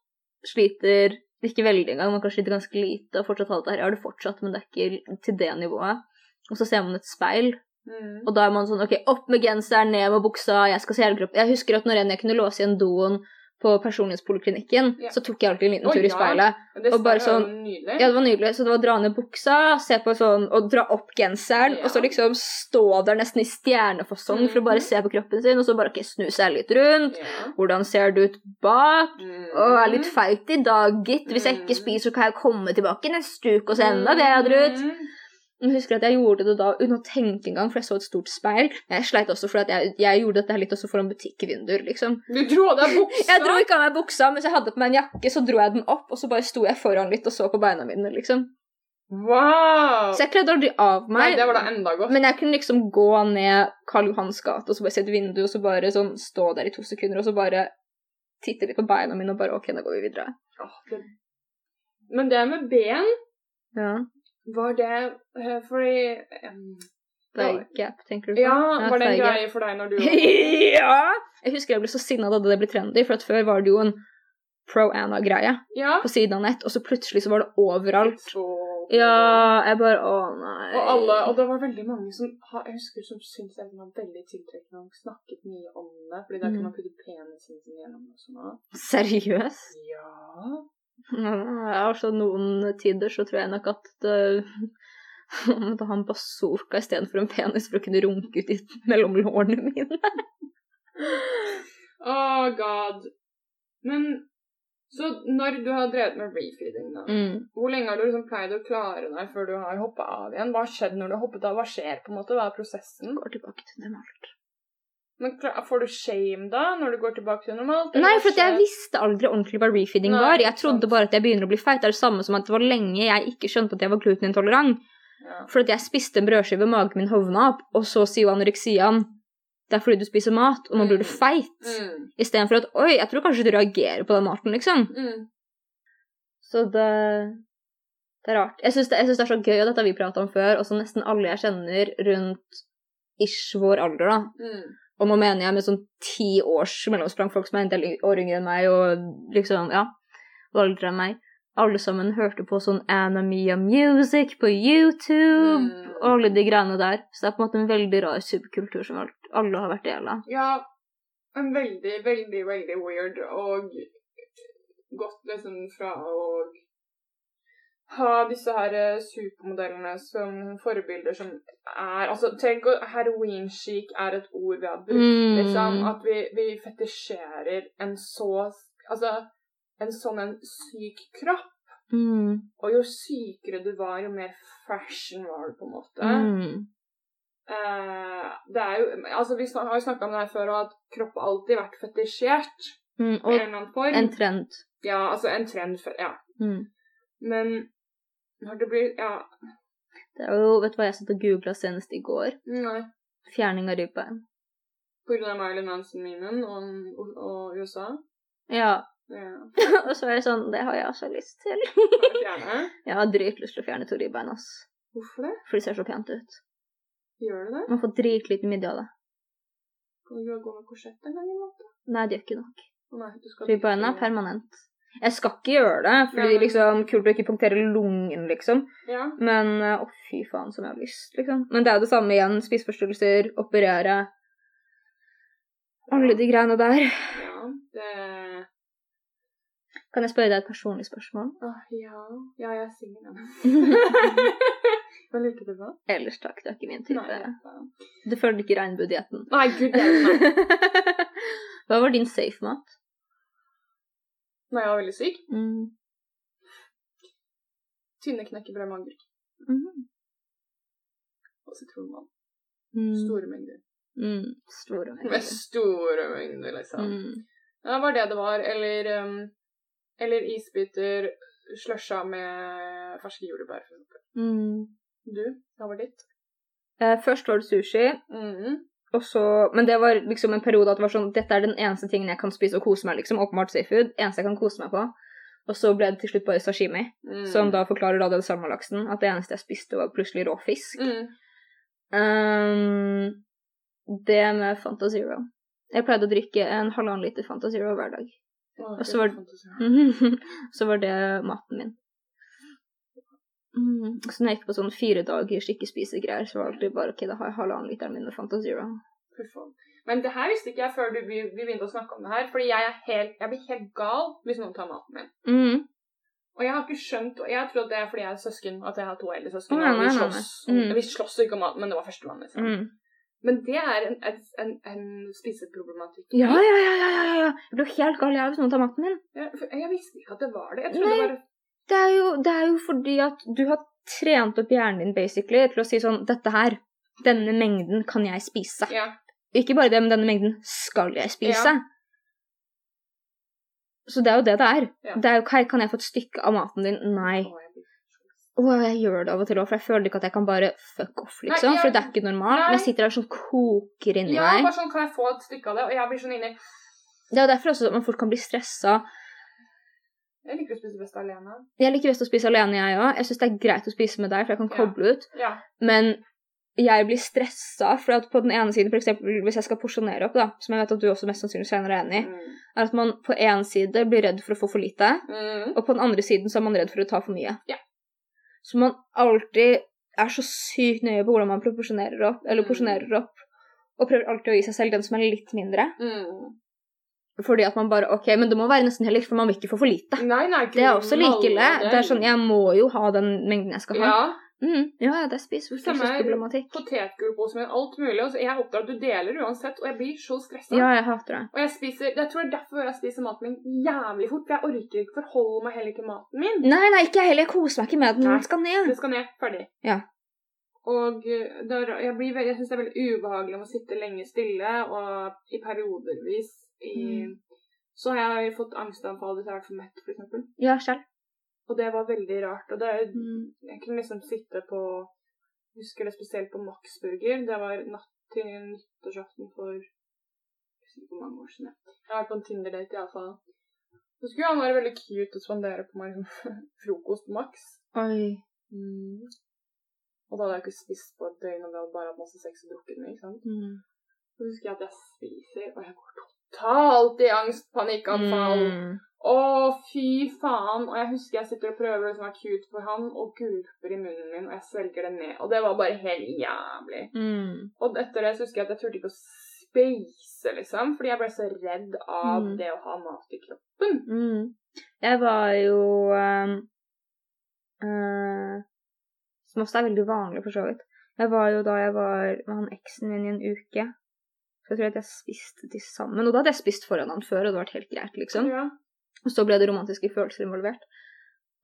Speaker 1: sliter ikke veldig engang, man kan slite ganske lite og fortsatt ha det her. Jeg har det fortsatt, men det er ikke til det nivået. Og så ser man et speil,
Speaker 2: Mm.
Speaker 1: og da er man sånn OK, opp med genseren, ned med buksa, jeg skal se hele kroppen. Jeg husker at når enn jeg kunne låse igjen doen på personlighetspoliklinikken,
Speaker 2: Ja.
Speaker 1: så tok jeg alltid en liten
Speaker 2: Å,
Speaker 1: tur
Speaker 2: ja.
Speaker 1: i speilet.
Speaker 2: Men Det
Speaker 1: og bare
Speaker 2: er jo
Speaker 1: sånn-
Speaker 2: Nydelig.
Speaker 1: Ja, det var nydelig. Så det var å dra ned buksa, se på sånn, og dra opp genseren,
Speaker 2: Ja.
Speaker 1: og så liksom stå der nesten i stjernefasong for å bare se på kroppen sin, og så bare ok, snu seg litt rundt.
Speaker 2: Ja.
Speaker 1: Hvordan ser du ut bak?
Speaker 2: Mm.
Speaker 1: Å, jeg er litt feit i dag, gitt. Hvis jeg ikke spiser, så kan jeg komme tilbake neste uke og se enda bedre ut.
Speaker 2: Mm.
Speaker 1: Jeg husker at jeg gjorde det da uten å tenke engang, for jeg så et stort speil. Jeg sleit også fordi at jeg, jeg gjorde dette her litt også foran butikkvinduer, liksom.
Speaker 2: Du dro av deg buksa?
Speaker 1: Jeg dro ikke av meg buksa, mens jeg hadde på meg en jakke, så dro jeg den opp, og så bare sto jeg foran litt og så på beina mine, liksom.
Speaker 2: Wow!
Speaker 1: Så jeg kledde aldri av
Speaker 2: Nei,
Speaker 1: meg.
Speaker 2: det var da enda godt.
Speaker 1: Men jeg kunne liksom gå ned Karl Johans gate og så bare se et vindu og så bare sånn stå der i to sekunder og så bare titte litt på beina mine og bare OK, da går vi videre.
Speaker 2: Åh, det... Men det med ben,
Speaker 1: Ja.
Speaker 2: var det eh, fordi em,
Speaker 1: Thigh gap, tenker du på?
Speaker 2: Ja, var det en
Speaker 1: thigh gap.
Speaker 2: greie for deg når du
Speaker 1: ja! Jeg husker jeg ble så sinna da det ble trendy, for at før var det jo en pro Anna-greie
Speaker 2: Ja.
Speaker 1: på siden av nett, og så plutselig så var det overalt.
Speaker 2: Så-
Speaker 1: Ja, jeg bare Å, nei.
Speaker 2: Og alle, og det var veldig mange som har- jeg husker som syntes den var veldig tiltrekkende og snakket mye om det. Fordi da
Speaker 1: Mm.
Speaker 2: kan man putte penisen sin gjennom og sånn. også.
Speaker 1: Seriøst?
Speaker 2: Ja.
Speaker 1: Ja, altså noen tider så tror jeg nok at uh, man måtte ha en bazooka istedenfor en penis for å kunne runke ut i mellom lårene mine.
Speaker 2: Oh god. Men så når du har drevet med refeeding, da,
Speaker 1: Mm.
Speaker 2: hvor lenge har du liksom pleid å klare deg før du har hoppa av igjen? Hva har skjedd når du har hoppet av? Hva skjer på en måte? Hva er prosessen?
Speaker 1: Går tilbake til normalt.
Speaker 2: Men kla- Får du shame da, når du går tilbake til normalt? eller
Speaker 1: Nei,
Speaker 2: hva
Speaker 1: for at jeg
Speaker 2: skjer?
Speaker 1: visste aldri ordentlig hva refeeding
Speaker 2: Nei,
Speaker 1: var. Jeg
Speaker 2: ikke
Speaker 1: trodde
Speaker 2: sant.
Speaker 1: bare at jeg begynner å bli feit. Det er det samme som at det var lenge jeg ikke skjønte at jeg var glutenintolerant.
Speaker 2: Ja.
Speaker 1: For at jeg spiste en brødskive, magen min hovna opp, og så sier jo anoreksiaen det er fordi du spiser mat, og nå blir du
Speaker 2: Mm.
Speaker 1: feit.
Speaker 2: Mm.
Speaker 1: Istedenfor at oi, jeg tror kanskje du reagerer på den maten, liksom.
Speaker 2: Mm.
Speaker 1: Så det Det er rart. Jeg syns det, jeg synes det er så gøy, og dette har vi prata om før, og så nesten alle jeg kjenner rundt ish vår alder, da.
Speaker 2: Mm.
Speaker 1: Og nå mener jeg med sånn ti års mellomsprang, folk som er en del yng- år yngre enn meg, og liksom, ja, og eldre enn meg. Alle sammen hørte på sånn Anamia Music på YouTube,
Speaker 2: Mm.
Speaker 1: og alle de greiene der. Så det er på en måte en veldig rar subkultur som alt- alle har vært del av.
Speaker 2: Ja, en veldig, veldig, veldig weird og gått liksom fra å ha disse her eh, supermodellene som forbilder som er Altså, tenk å Heroin-chic er et ord vi har brukt,
Speaker 1: Mm.
Speaker 2: liksom. At vi, vi fetisjerer en så Altså, en sånn en syk kropp.
Speaker 1: Mm.
Speaker 2: Og jo sykere du var, jo mer fashion var du, på en måte.
Speaker 1: Mm.
Speaker 2: Eh, det er jo, altså Vi snak- har jo snakka om det her før, og at kropp har alltid vært fetisjert.
Speaker 1: Mm.
Speaker 2: i en
Speaker 1: Og
Speaker 2: eller annen form.
Speaker 1: en trend.
Speaker 2: ja, altså en trend før, ja.
Speaker 1: Mm.
Speaker 2: Men når det blir Ja,
Speaker 1: Det er jo, vet du hva jeg satt og googla senest i går?
Speaker 2: nei.
Speaker 1: Fjerning av ribbein.
Speaker 2: På grunn av Marilyn Manson-minen og, og, og USA.
Speaker 1: Ja.
Speaker 2: Ja,
Speaker 1: og så er jeg sånn, det har jeg også lyst til.
Speaker 2: kan jeg fjerne.
Speaker 1: Jeg har dritlyst til å fjerne to ribbein, ass.
Speaker 2: Hvorfor det?
Speaker 1: For det ser så pent ut.
Speaker 2: Gjør du det?
Speaker 1: Man får dritliten midje av det.
Speaker 2: Kan du gå med korsett en gang iblant?
Speaker 1: Nei, det gjør ikke nok.
Speaker 2: Å nei, du skal
Speaker 1: Ribbeina er permanent. Jeg skal ikke gjøre det, fordi
Speaker 2: Nei.
Speaker 1: liksom, kult å ikke punktere lungen, liksom.
Speaker 2: Ja.
Speaker 1: Men eh, å, fy faen som jeg har lyst, liksom. Men det er jo det samme igjen. Spiseforstyrrelser, operere. Alle de greiene der.
Speaker 2: ja. Det
Speaker 1: Kan jeg spørre deg et personlig spørsmål?
Speaker 2: Åh, ja. Ja, jeg er singel ennå. Hva liker du på?
Speaker 1: Ellers takk, det er ikke min
Speaker 2: Nei,
Speaker 1: type.
Speaker 2: ja.
Speaker 1: Du følger ikke regnbuedietten.
Speaker 2: nei, gud hjelpe meg.
Speaker 1: Hva var din safe mat?
Speaker 2: Når jeg var veldig syk.
Speaker 1: Mm.
Speaker 2: Tynne knekkebrød med agurk
Speaker 1: Mm.
Speaker 2: og sitronvann.
Speaker 1: Mm.
Speaker 2: Store mengder.
Speaker 1: Mm. Store
Speaker 2: Med
Speaker 1: mengder.
Speaker 2: store mengder, liksom.
Speaker 1: Mm.
Speaker 2: Ja, det var det det var. Eller, um, eller isbiter slusha med ferske jordbær. for eksempel.
Speaker 1: Mm.
Speaker 2: Du, hva var ditt?
Speaker 1: Eh, først var det sushi,
Speaker 2: Mhm.
Speaker 1: og så, men det var liksom en periode at det var sånn, dette er den eneste tingen jeg kan spise og kose meg, liksom, åpenbart seafood, eneste jeg kan kose meg på. Og så ble det til slutt bare sashimi,
Speaker 2: Mm.
Speaker 1: som Sånn da forklarer da den salmalaksen, at det eneste jeg spiste var plutselig rå fisk.
Speaker 2: mm.
Speaker 1: Ehm, det med Fanta Zero. Jeg pleide å drikke en halvannen liter Fanta Zero hver dag.
Speaker 2: Å,
Speaker 1: Og så var-
Speaker 2: det fantasi.
Speaker 1: så var det maten min. Mm. Så når jeg gikk på sånn fire dagers ikke-spise-greier, så var det alltid bare OK, da har jeg halvannen literen min med Fanta Zero.
Speaker 2: Fy faen. Men det her visste ikke jeg før du, vi, vi begynte å snakke om det her. Fordi jeg, er helt, jeg blir helt gal hvis noen tar maten min.
Speaker 1: Mm.
Speaker 2: Og jeg har ikke skjønt og Jeg tror at det er fordi jeg er søsken, at jeg har to eldre søsken.
Speaker 1: Å, nei,
Speaker 2: og vi
Speaker 1: nei, nei, nei.
Speaker 2: slåss,
Speaker 1: Mm.
Speaker 2: vi slåss ikke om maten, men det var førstemann. Liksom.
Speaker 1: Mm.
Speaker 2: Men det er en, en, en, en spiseproblematikk.
Speaker 1: Ja, ja, ja, ja, ja, ja. Jeg blir helt gal jeg hvis noen tar maten min.
Speaker 2: Jeg, for jeg visste ikke at det var det. Jeg trodde
Speaker 1: Nei.
Speaker 2: bare
Speaker 1: Det er, jo, det er jo fordi at du har trent opp hjernen din basically til å si sånn Dette her, denne mengden kan jeg spise.
Speaker 2: Ja.
Speaker 1: Ikke bare det, men denne mengden skal jeg spise.
Speaker 2: Ja.
Speaker 1: Så det er jo det det er.
Speaker 2: Ja.
Speaker 1: Det er jo ikke Kan jeg få et stykke av maten din? Nei.
Speaker 2: Å, jeg blir så-
Speaker 1: Å, jeg gjør det av og til òg, for jeg føler ikke at jeg kan bare fuck off, liksom.
Speaker 2: Nei, ja.
Speaker 1: For det er ikke normalt.
Speaker 2: Nei.
Speaker 1: Men jeg sitter der sånn koker inni
Speaker 2: Ja,
Speaker 1: meg.
Speaker 2: bare sånn kan jeg få et stykke av det, og jeg blir sånn inni
Speaker 1: Det er jo derfor også at man fort kan bli stressa.
Speaker 2: Jeg liker å spise best alene.
Speaker 1: Jeg liker best å spise alene, jeg òg. Jeg syns det er greit å spise med deg, for jeg kan
Speaker 2: Ja.
Speaker 1: koble ut.
Speaker 2: Ja.
Speaker 1: Men jeg blir stressa, for at på den ene siden, for eksempel hvis jeg skal porsjonere opp, da, som jeg vet at du også mest sannsynlig senere er enig i,
Speaker 2: Mm.
Speaker 1: er at man på én side blir redd for å få for lite,
Speaker 2: Mm.
Speaker 1: og på den andre siden så er man redd for å ta for mye.
Speaker 2: Ja.
Speaker 1: Så man alltid er så sykt nøye på hvordan man proporsjonerer opp, eller
Speaker 2: Mm.
Speaker 1: porsjonerer opp, og prøver alltid å gi seg selv den som er litt mindre.
Speaker 2: Mm.
Speaker 1: Fordi at man bare OK, men det må være nesten heller, for man vil ikke få for lite.
Speaker 2: Nei, nei, ikke
Speaker 1: Det er sånn, også like
Speaker 2: alle
Speaker 1: ille.
Speaker 2: del.
Speaker 1: Det er sånn, jeg må jo ha den mengden jeg skal ha.
Speaker 2: Ja.
Speaker 1: Mm, ja, ja, det er spiseforstyrrelsesproblematikk.
Speaker 2: Potetgull, påsmør, alt mulig. Og så jeg oppdrar at du deler uansett, og jeg blir så stressa.
Speaker 1: Ja, jeg hater det.
Speaker 2: Og jeg spiser, jeg tror det er derfor jeg spiser maten min jævlig fort, for jeg orker ikke forholde meg heller til maten min.
Speaker 1: Nei, nei, ikke jeg heller. Jeg koser meg ikke med den.
Speaker 2: Nei.
Speaker 1: Den skal ned.
Speaker 2: Det skal ned. Ferdig.
Speaker 1: Ja.
Speaker 2: Og eh, da, jeg, blir veldig, jeg synes det er veldig ubehagelig om å sitte lenge stille, og i periodervis i, Så har jeg fått angstanfall hvis jeg har vært for mett, for eksempel.
Speaker 1: Ja, selv.
Speaker 2: Og det var veldig rart. Og det, jeg kunne liksom sitte på jeg husker det spesielt på Max Burger. Det var natt til nyttårsaften for jeg husker ikke hvor mange år siden. jeg- Jeg var på en Tinder-date iallfall. Så skulle han være veldig cute og spandere på meg frokost på Max.
Speaker 1: Oi.
Speaker 2: Og da hadde jeg ikke spist på et døgn, og vi hadde bare hatt masse sex og drukket mye. ikke sant? Så husker jeg at jeg spiser, og jeg går totalt i angst, panikkanfall.
Speaker 1: Mm.
Speaker 2: Å, fy faen. Og jeg husker jeg sitter og prøver å liksom være cute for han, og gulper i munnen min, og jeg svelger det ned. Og det var bare helt jævlig.
Speaker 1: Mm.
Speaker 2: Og etter det så husker jeg at jeg turte ikke å spise, liksom, fordi jeg ble så redd av
Speaker 1: Mm.
Speaker 2: det å ha mat i kroppen.
Speaker 1: Mm. Jeg var jo um, eh, Som også er veldig vanlig, for så vidt. Jeg var jo da jeg var med han eksen min i en uke. Så jeg tror at jeg spiste til sammen. Og da hadde jeg spist foran han før, og det hadde vært helt greit, liksom.
Speaker 2: Ja.
Speaker 1: Og så ble det romantiske følelser involvert.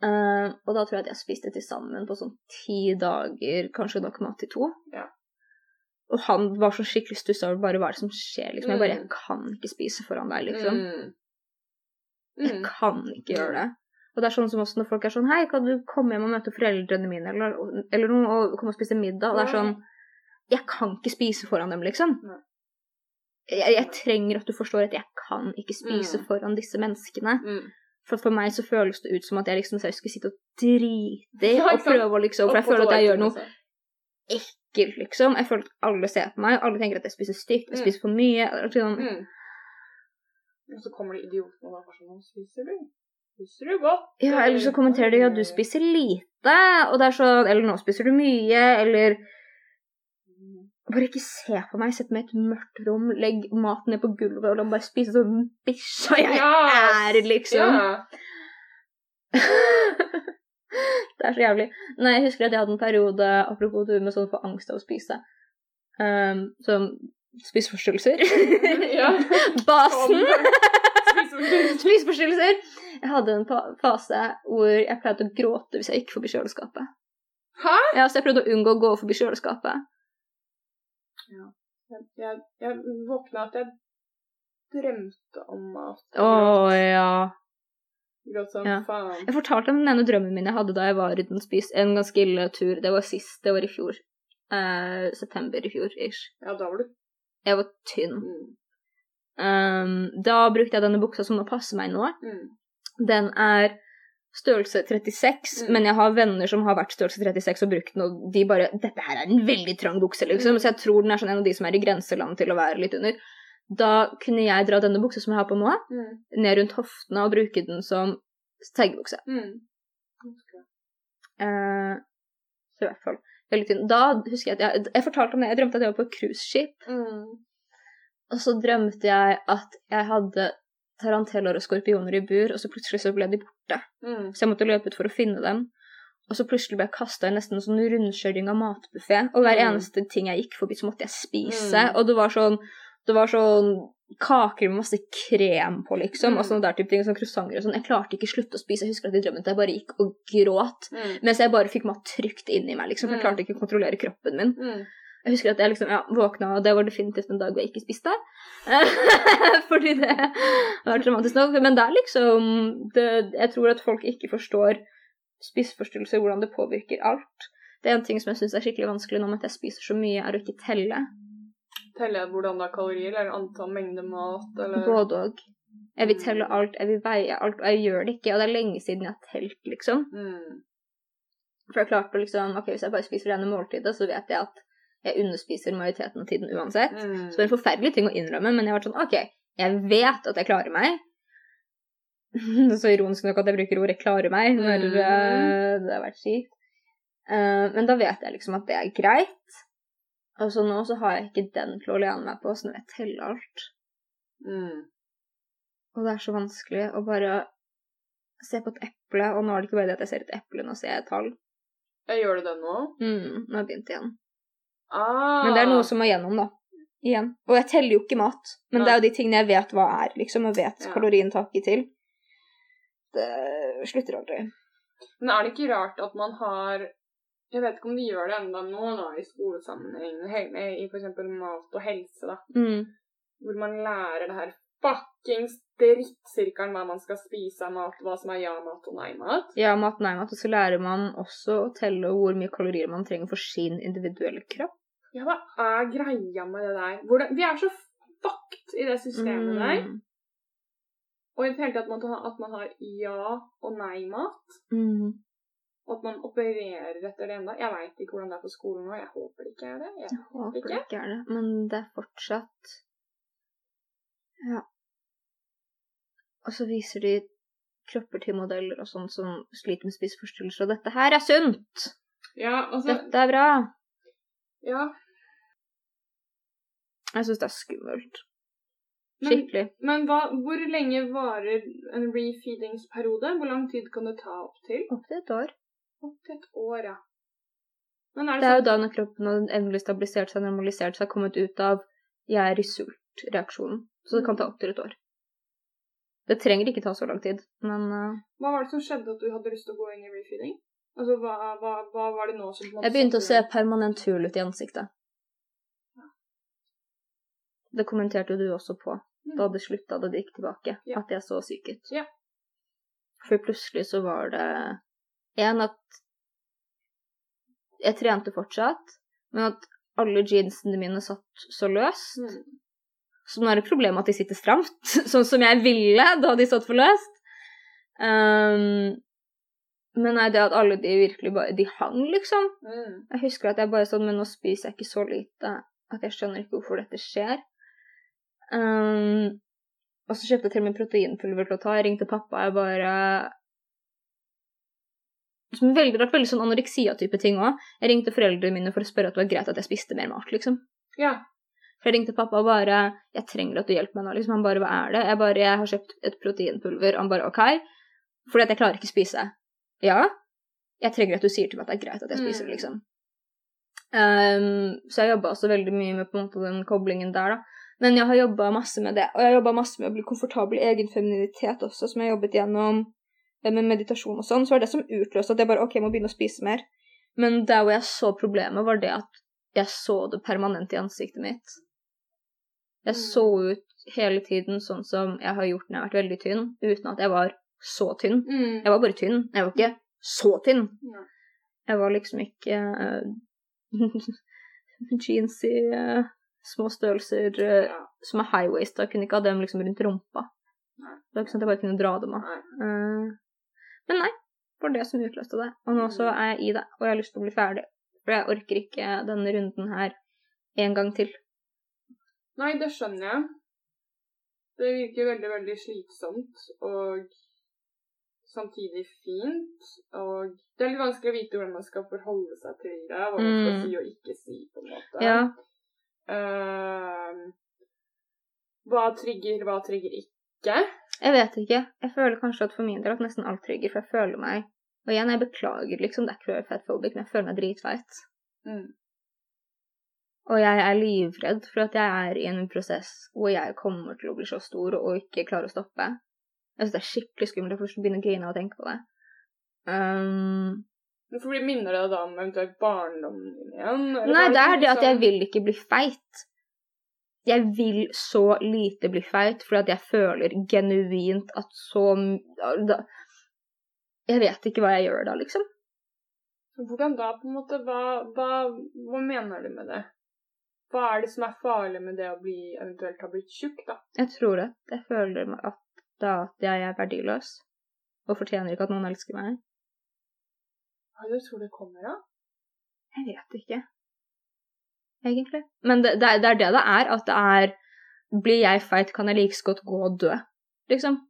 Speaker 1: Eh, og da tror jeg at jeg spiste til sammen på sånn ti dager, kanskje nok mat til to.
Speaker 2: Ja.
Speaker 1: Og han var så skikkelig stussa over bare hva er det som skjer, liksom. Jeg bare
Speaker 2: Mm.
Speaker 1: jeg kan ikke spise foran deg, liksom.
Speaker 2: Mm.
Speaker 1: Jeg kan ikke gjøre det. Og det er sånn som også når folk er sånn Hei, kan du komme hjem og møte foreldrene mine, eller, eller noe, og komme og spise middag? Og det er sånn Jeg kan ikke spise foran dem, liksom.
Speaker 2: Nei.
Speaker 1: Jeg, jeg trenger at du forstår at jeg kan ikke spise
Speaker 2: Mm.
Speaker 1: foran disse menneskene.
Speaker 2: Mm.
Speaker 1: For, for meg så føles det ut som at jeg liksom seriøst skulle sitte og drite i
Speaker 2: Ja, ikke
Speaker 1: og
Speaker 2: sant?
Speaker 1: prøve å liksom For jeg
Speaker 2: Opp på
Speaker 1: føler at jeg gjør noe
Speaker 2: toaletten, altså.
Speaker 1: ekkelt, liksom. Jeg føler at alle ser på meg, og alle tenker at jeg spiser stygt, jeg
Speaker 2: Mm.
Speaker 1: spiser for mye. eller Sånn.
Speaker 2: Mm. Og så kommer de idiotene og da bare sånn Nå spiser du. Spiser du godt?
Speaker 1: Ja, eller så kommenterer de at du spiser lite, og det er sånn Eller nå spiser du mye, eller
Speaker 2: Mm.
Speaker 1: Bare ikke se på meg, sett meg i et mørkt rom, legg maten ned på gulvet, og la meg bare spise som en bikkje. og Jeg
Speaker 2: Ja.
Speaker 1: er liksom
Speaker 2: Ja.
Speaker 1: Det er så jævlig. Nei, jeg husker at jeg hadde en periode, apropos du med sånn for angst av å spise, um, som spiseforstyrrelser.
Speaker 2: ja.
Speaker 1: Basen!
Speaker 2: Spiser du-
Speaker 1: Spiseforstyrrelser! Jeg hadde en pa- fase hvor jeg pleide å gråte hvis jeg gikk forbi kjøleskapet.
Speaker 2: Hæ?
Speaker 1: Ja, så jeg prøvde å unngå å gå forbi kjøleskapet.
Speaker 2: Jeg, jeg, jeg våkna at jeg drømte om mat.
Speaker 1: ja.
Speaker 2: Gråt som
Speaker 1: ja.
Speaker 2: faen.
Speaker 1: Jeg fortalte om den ene drømmen min jeg hadde da jeg var uten spis en ganske ille tur. Det var sist, det var i fjor. Eh, september i fjor, ish.
Speaker 2: Ja, da var du
Speaker 1: Jeg var tynn.
Speaker 2: mm.
Speaker 1: Um, da brukte jeg denne buksa som nå passer meg nå.
Speaker 2: Mm.
Speaker 1: Den er størrelse 36,
Speaker 2: Mm.
Speaker 1: men jeg har venner som har vært størrelse 36 og brukt den, og de bare 'Dette her er en veldig trang bukse', liksom.
Speaker 2: Mm.
Speaker 1: Så jeg tror den er sånn en av de som er i grenseland til å være litt under. Da kunne jeg dra denne buksa som jeg har på nå,
Speaker 2: Mm.
Speaker 1: ned rundt hoftene og bruke den som taggebukse.
Speaker 2: Mm.
Speaker 1: Eh, så i hvert fall veldig tynn. Da husker jeg at jeg, jeg fortalte om det. Jeg drømte at jeg var på et cruiseskip,
Speaker 2: Mm.
Speaker 1: og så drømte jeg at jeg hadde taranteller og skorpioner i bur, og så plutselig så ble de borte.
Speaker 2: Mm.
Speaker 1: Så jeg måtte løpe ut for å finne dem. Og så plutselig ble jeg kasta i nesten en sånn rundkjøring av matbuffé. Og hver
Speaker 2: Mm.
Speaker 1: eneste ting jeg gikk forbi, så måtte jeg spise.
Speaker 2: Mm.
Speaker 1: Og det var sånn det var sånn kaker med masse krem på, liksom.
Speaker 2: Mm.
Speaker 1: Og sånne der type ting, sånn croissanter og sånn. Jeg klarte ikke slutte å spise. Jeg husker at i drømmen at jeg bare gikk og gråt.
Speaker 2: Mm.
Speaker 1: Mens jeg bare fikk mat trygt inni meg, liksom. For jeg
Speaker 2: Mm.
Speaker 1: klarte ikke å kontrollere kroppen min.
Speaker 2: Mm.
Speaker 1: Jeg husker at jeg liksom, ja, våkna, og det var definitivt en dag hvor jeg ikke spiste. Fordi det var traumatisk nok. Men det er liksom det, Jeg tror at folk ikke forstår spiseforstyrrelser, hvordan det påvirker alt. Det er en ting som jeg syns er skikkelig vanskelig nå med at jeg spiser så mye, er å ikke telle.
Speaker 2: Teller jeg hvordan det er kalorier, eller antall mengde mat, eller Mm.
Speaker 1: Både og. Jeg vil telle alt, jeg vil veie alt, og jeg gjør det ikke. Og det er lenge siden jeg har telt, liksom.
Speaker 2: Mm.
Speaker 1: For jeg klarte å liksom OK, hvis jeg bare spiser denne måltidet, så vet jeg at jeg underspiser majoriteten av tiden uansett.
Speaker 2: Mm.
Speaker 1: Så det er en forferdelig ting å innrømme, men jeg har vært sånn OK, jeg vet at jeg klarer meg. Så ironisk nok at jeg bruker ordet 'klarer meg' når
Speaker 2: Mm.
Speaker 1: eh, det har vært kjipt. Eh, men da vet jeg liksom at det er greit. Og så nå så har jeg ikke den til å lene meg på, så nå vil jeg telle alt.
Speaker 2: Mm.
Speaker 1: Og det er så vanskelig å bare se på et eple, og nå er det ikke bare det at jeg ser et eple, nå ser jeg et tall.
Speaker 2: Jeg gjør det det nå?
Speaker 1: Mm, nå har jeg begynt igjen.
Speaker 2: Ah.
Speaker 1: Men det er noe som må gjennom, da. Igjen. Og jeg teller jo ikke mat, men
Speaker 2: Nei.
Speaker 1: det er jo de tingene jeg vet hva er, liksom, og vet
Speaker 2: Ja.
Speaker 1: kaloriinntaket til. Det slutter aldri.
Speaker 2: Men er det ikke rart at man har Jeg vet ikke om de gjør det enda nå da, i skolesammenheng, he- i for eksempel mat og helse, da,
Speaker 1: Mm.
Speaker 2: hvor man lærer det her fuckings drittsirkelen hva man skal spise av mat, hva som er ja-mat og nei-mat.
Speaker 1: Ja, mat, nei, mat. Og så lærer man også å telle hvor mye kalorier man trenger for sin individuelle kropp.
Speaker 2: Ja, hva er greia med det der? Hvordan, vi er så fucked i det systemet
Speaker 1: Mm.
Speaker 2: der. Og i det hele tatt at man, tar- at man har ja- og nei-mat,
Speaker 1: Mm.
Speaker 2: og at man opererer etter det enda. Jeg veit ikke hvordan det er på skolen nå, jeg håper det ikke er det. Jeg
Speaker 1: Håper
Speaker 2: Ikke?
Speaker 1: det ikke er det. Men det er fortsatt Ja. Og så viser de kropper til modeller og sånn som sliter med spiseforstyrrelser, og dette her er sunt!
Speaker 2: Ja, altså,
Speaker 1: Dette er bra!
Speaker 2: ja,
Speaker 1: Jeg syns det er skummelt.
Speaker 2: Men-
Speaker 1: Skikkelig.
Speaker 2: Men hva, hvor lenge varer en refeedingsperiode? Hvor lang tid kan det ta opp til?
Speaker 1: Opptil et år.
Speaker 2: Opp til et år, ja. Men er
Speaker 1: Det
Speaker 2: det,
Speaker 1: er jo
Speaker 2: sånn,
Speaker 1: da når kroppen har endelig stabilisert seg, normalisert seg, kommet ut av 'jeg er i sult'-reaksjonen. Så det kan ta opptil et år. Det trenger ikke ta så lang tid, men eh,
Speaker 2: Hva var det som skjedde at du hadde lyst til å gå inn i refeeding? Altså, hva, hva, hva var det nå som på en måte
Speaker 1: Jeg begynte å se
Speaker 2: satte
Speaker 1: permanent hul ut i ansiktet. Det kommenterte jo du også på.
Speaker 2: deg?
Speaker 1: Da det slutta, da det gikk tilbake,
Speaker 2: Ja.
Speaker 1: at jeg så syk ut.
Speaker 2: Ja.
Speaker 1: For plutselig så var det en at jeg trente fortsatt, men at alle jeansene mine satt så løst.
Speaker 2: Mm.
Speaker 1: Så nå er det et problem at de sitter stramt, sånn som jeg ville da de satt for løst. Ehm, men nei, det at alle de virkelig bare De hang, liksom.
Speaker 2: Mm.
Speaker 1: Jeg husker at jeg bare sånn, men nå spiser jeg ikke så lite at jeg skjønner ikke hvorfor dette skjer. Ehm, og så kjøpte jeg til og med proteinpulver til å ta. Jeg ringte pappa, jeg bare Som veldig rart, veldig sånn anoreksia-type ting òg. Jeg ringte foreldrene mine for å spørre at det var greit at jeg spiste mer mat, liksom.
Speaker 2: Ja.
Speaker 1: For jeg ringte pappa og bare 'Jeg trenger at du hjelper meg nå', liksom. Han bare 'Hva er det?' Jeg bare 'Jeg har kjøpt et proteinpulver'. Han bare 'OK'. Fordi at jeg klarer ikke spise. Ja. Jeg trenger at du sier til meg at det er greit at jeg spiser det,
Speaker 2: Mm.
Speaker 1: liksom. Ehm, så jeg jobba også veldig mye med på en måte den koblingen der, da. Men jeg har jobba masse med det. Og jeg har jobba masse med å bli komfortabel i egen femininitet også, som jeg har jobbet gjennom eh, med meditasjon og sånn. Så var det som utløste at jeg bare OK, jeg må begynne å spise mer. Men der hvor jeg så problemet, var det at jeg så det permanent i ansiktet mitt. Jeg
Speaker 2: Mm.
Speaker 1: så ut hele tiden sånn som jeg har gjort når jeg har vært veldig tynn, uten at jeg var så tynn.
Speaker 2: Mm.
Speaker 1: Jeg var bare tynn. Jeg var ikke så tynn.
Speaker 2: Nei.
Speaker 1: Jeg var liksom ikke eh, jeansy, eh, små størrelser eh,
Speaker 2: Ja.
Speaker 1: som er high waist. da. Jeg kunne ikke ha dem liksom rundt rumpa.
Speaker 2: Nei.
Speaker 1: Det var ikke sånn at jeg bare kunne dra dem av.
Speaker 2: Nei.
Speaker 1: Eh, men nei, det var det som utløste det. Og nå så er jeg i det, og jeg har lyst til å bli ferdig. For jeg orker ikke denne runden her en gang til.
Speaker 2: Nei, det skjønner jeg. Det virker veldig, veldig slitsomt og samtidig fint. Og det er litt vanskelig å vite hvordan man skal forholde seg til det, hva man skal
Speaker 1: Mm.
Speaker 2: si og ikke si, på en måte.
Speaker 1: Ja.
Speaker 2: Ehm, hva trigger, hva trigger ikke?
Speaker 1: Jeg vet ikke. Jeg føler kanskje at for min del at nesten alt trigger, for jeg føler meg Og igjen, jeg beklager, liksom, det er ikke fatphobic, men jeg føler meg dritfeit. Mm. Og jeg er livredd for at jeg er i en prosess hvor jeg kommer til å bli så stor og ikke klare å stoppe. Jeg synes det er skikkelig skummelt. Jeg får lyst til å begynne å grine av å tenke på det. Um,
Speaker 2: Hvorfor blir- minner det deg da om eventuelt barndommen din igjen? eller
Speaker 1: Nei,
Speaker 2: var
Speaker 1: det er det at
Speaker 2: liksom-
Speaker 1: jeg vil ikke bli feit. Jeg vil så lite bli feit, fordi at jeg føler genuint at så m- da- Jeg vet ikke hva jeg gjør da, liksom.
Speaker 2: Hvordan da, på en måte? Hva, hva, hva mener du med det? Hva er det som er farlig med det å bli, eventuelt ha blitt tjukk, da?
Speaker 1: Jeg tror at jeg føler meg at da at jeg er verdiløs og fortjener ikke at noen elsker meg.
Speaker 2: Hva er det du tror det kommer av?
Speaker 1: Jeg vet ikke. Egentlig. Men det, det, er- det er det det er. At det er Blir jeg feit, kan jeg like så godt gå og dø, liksom.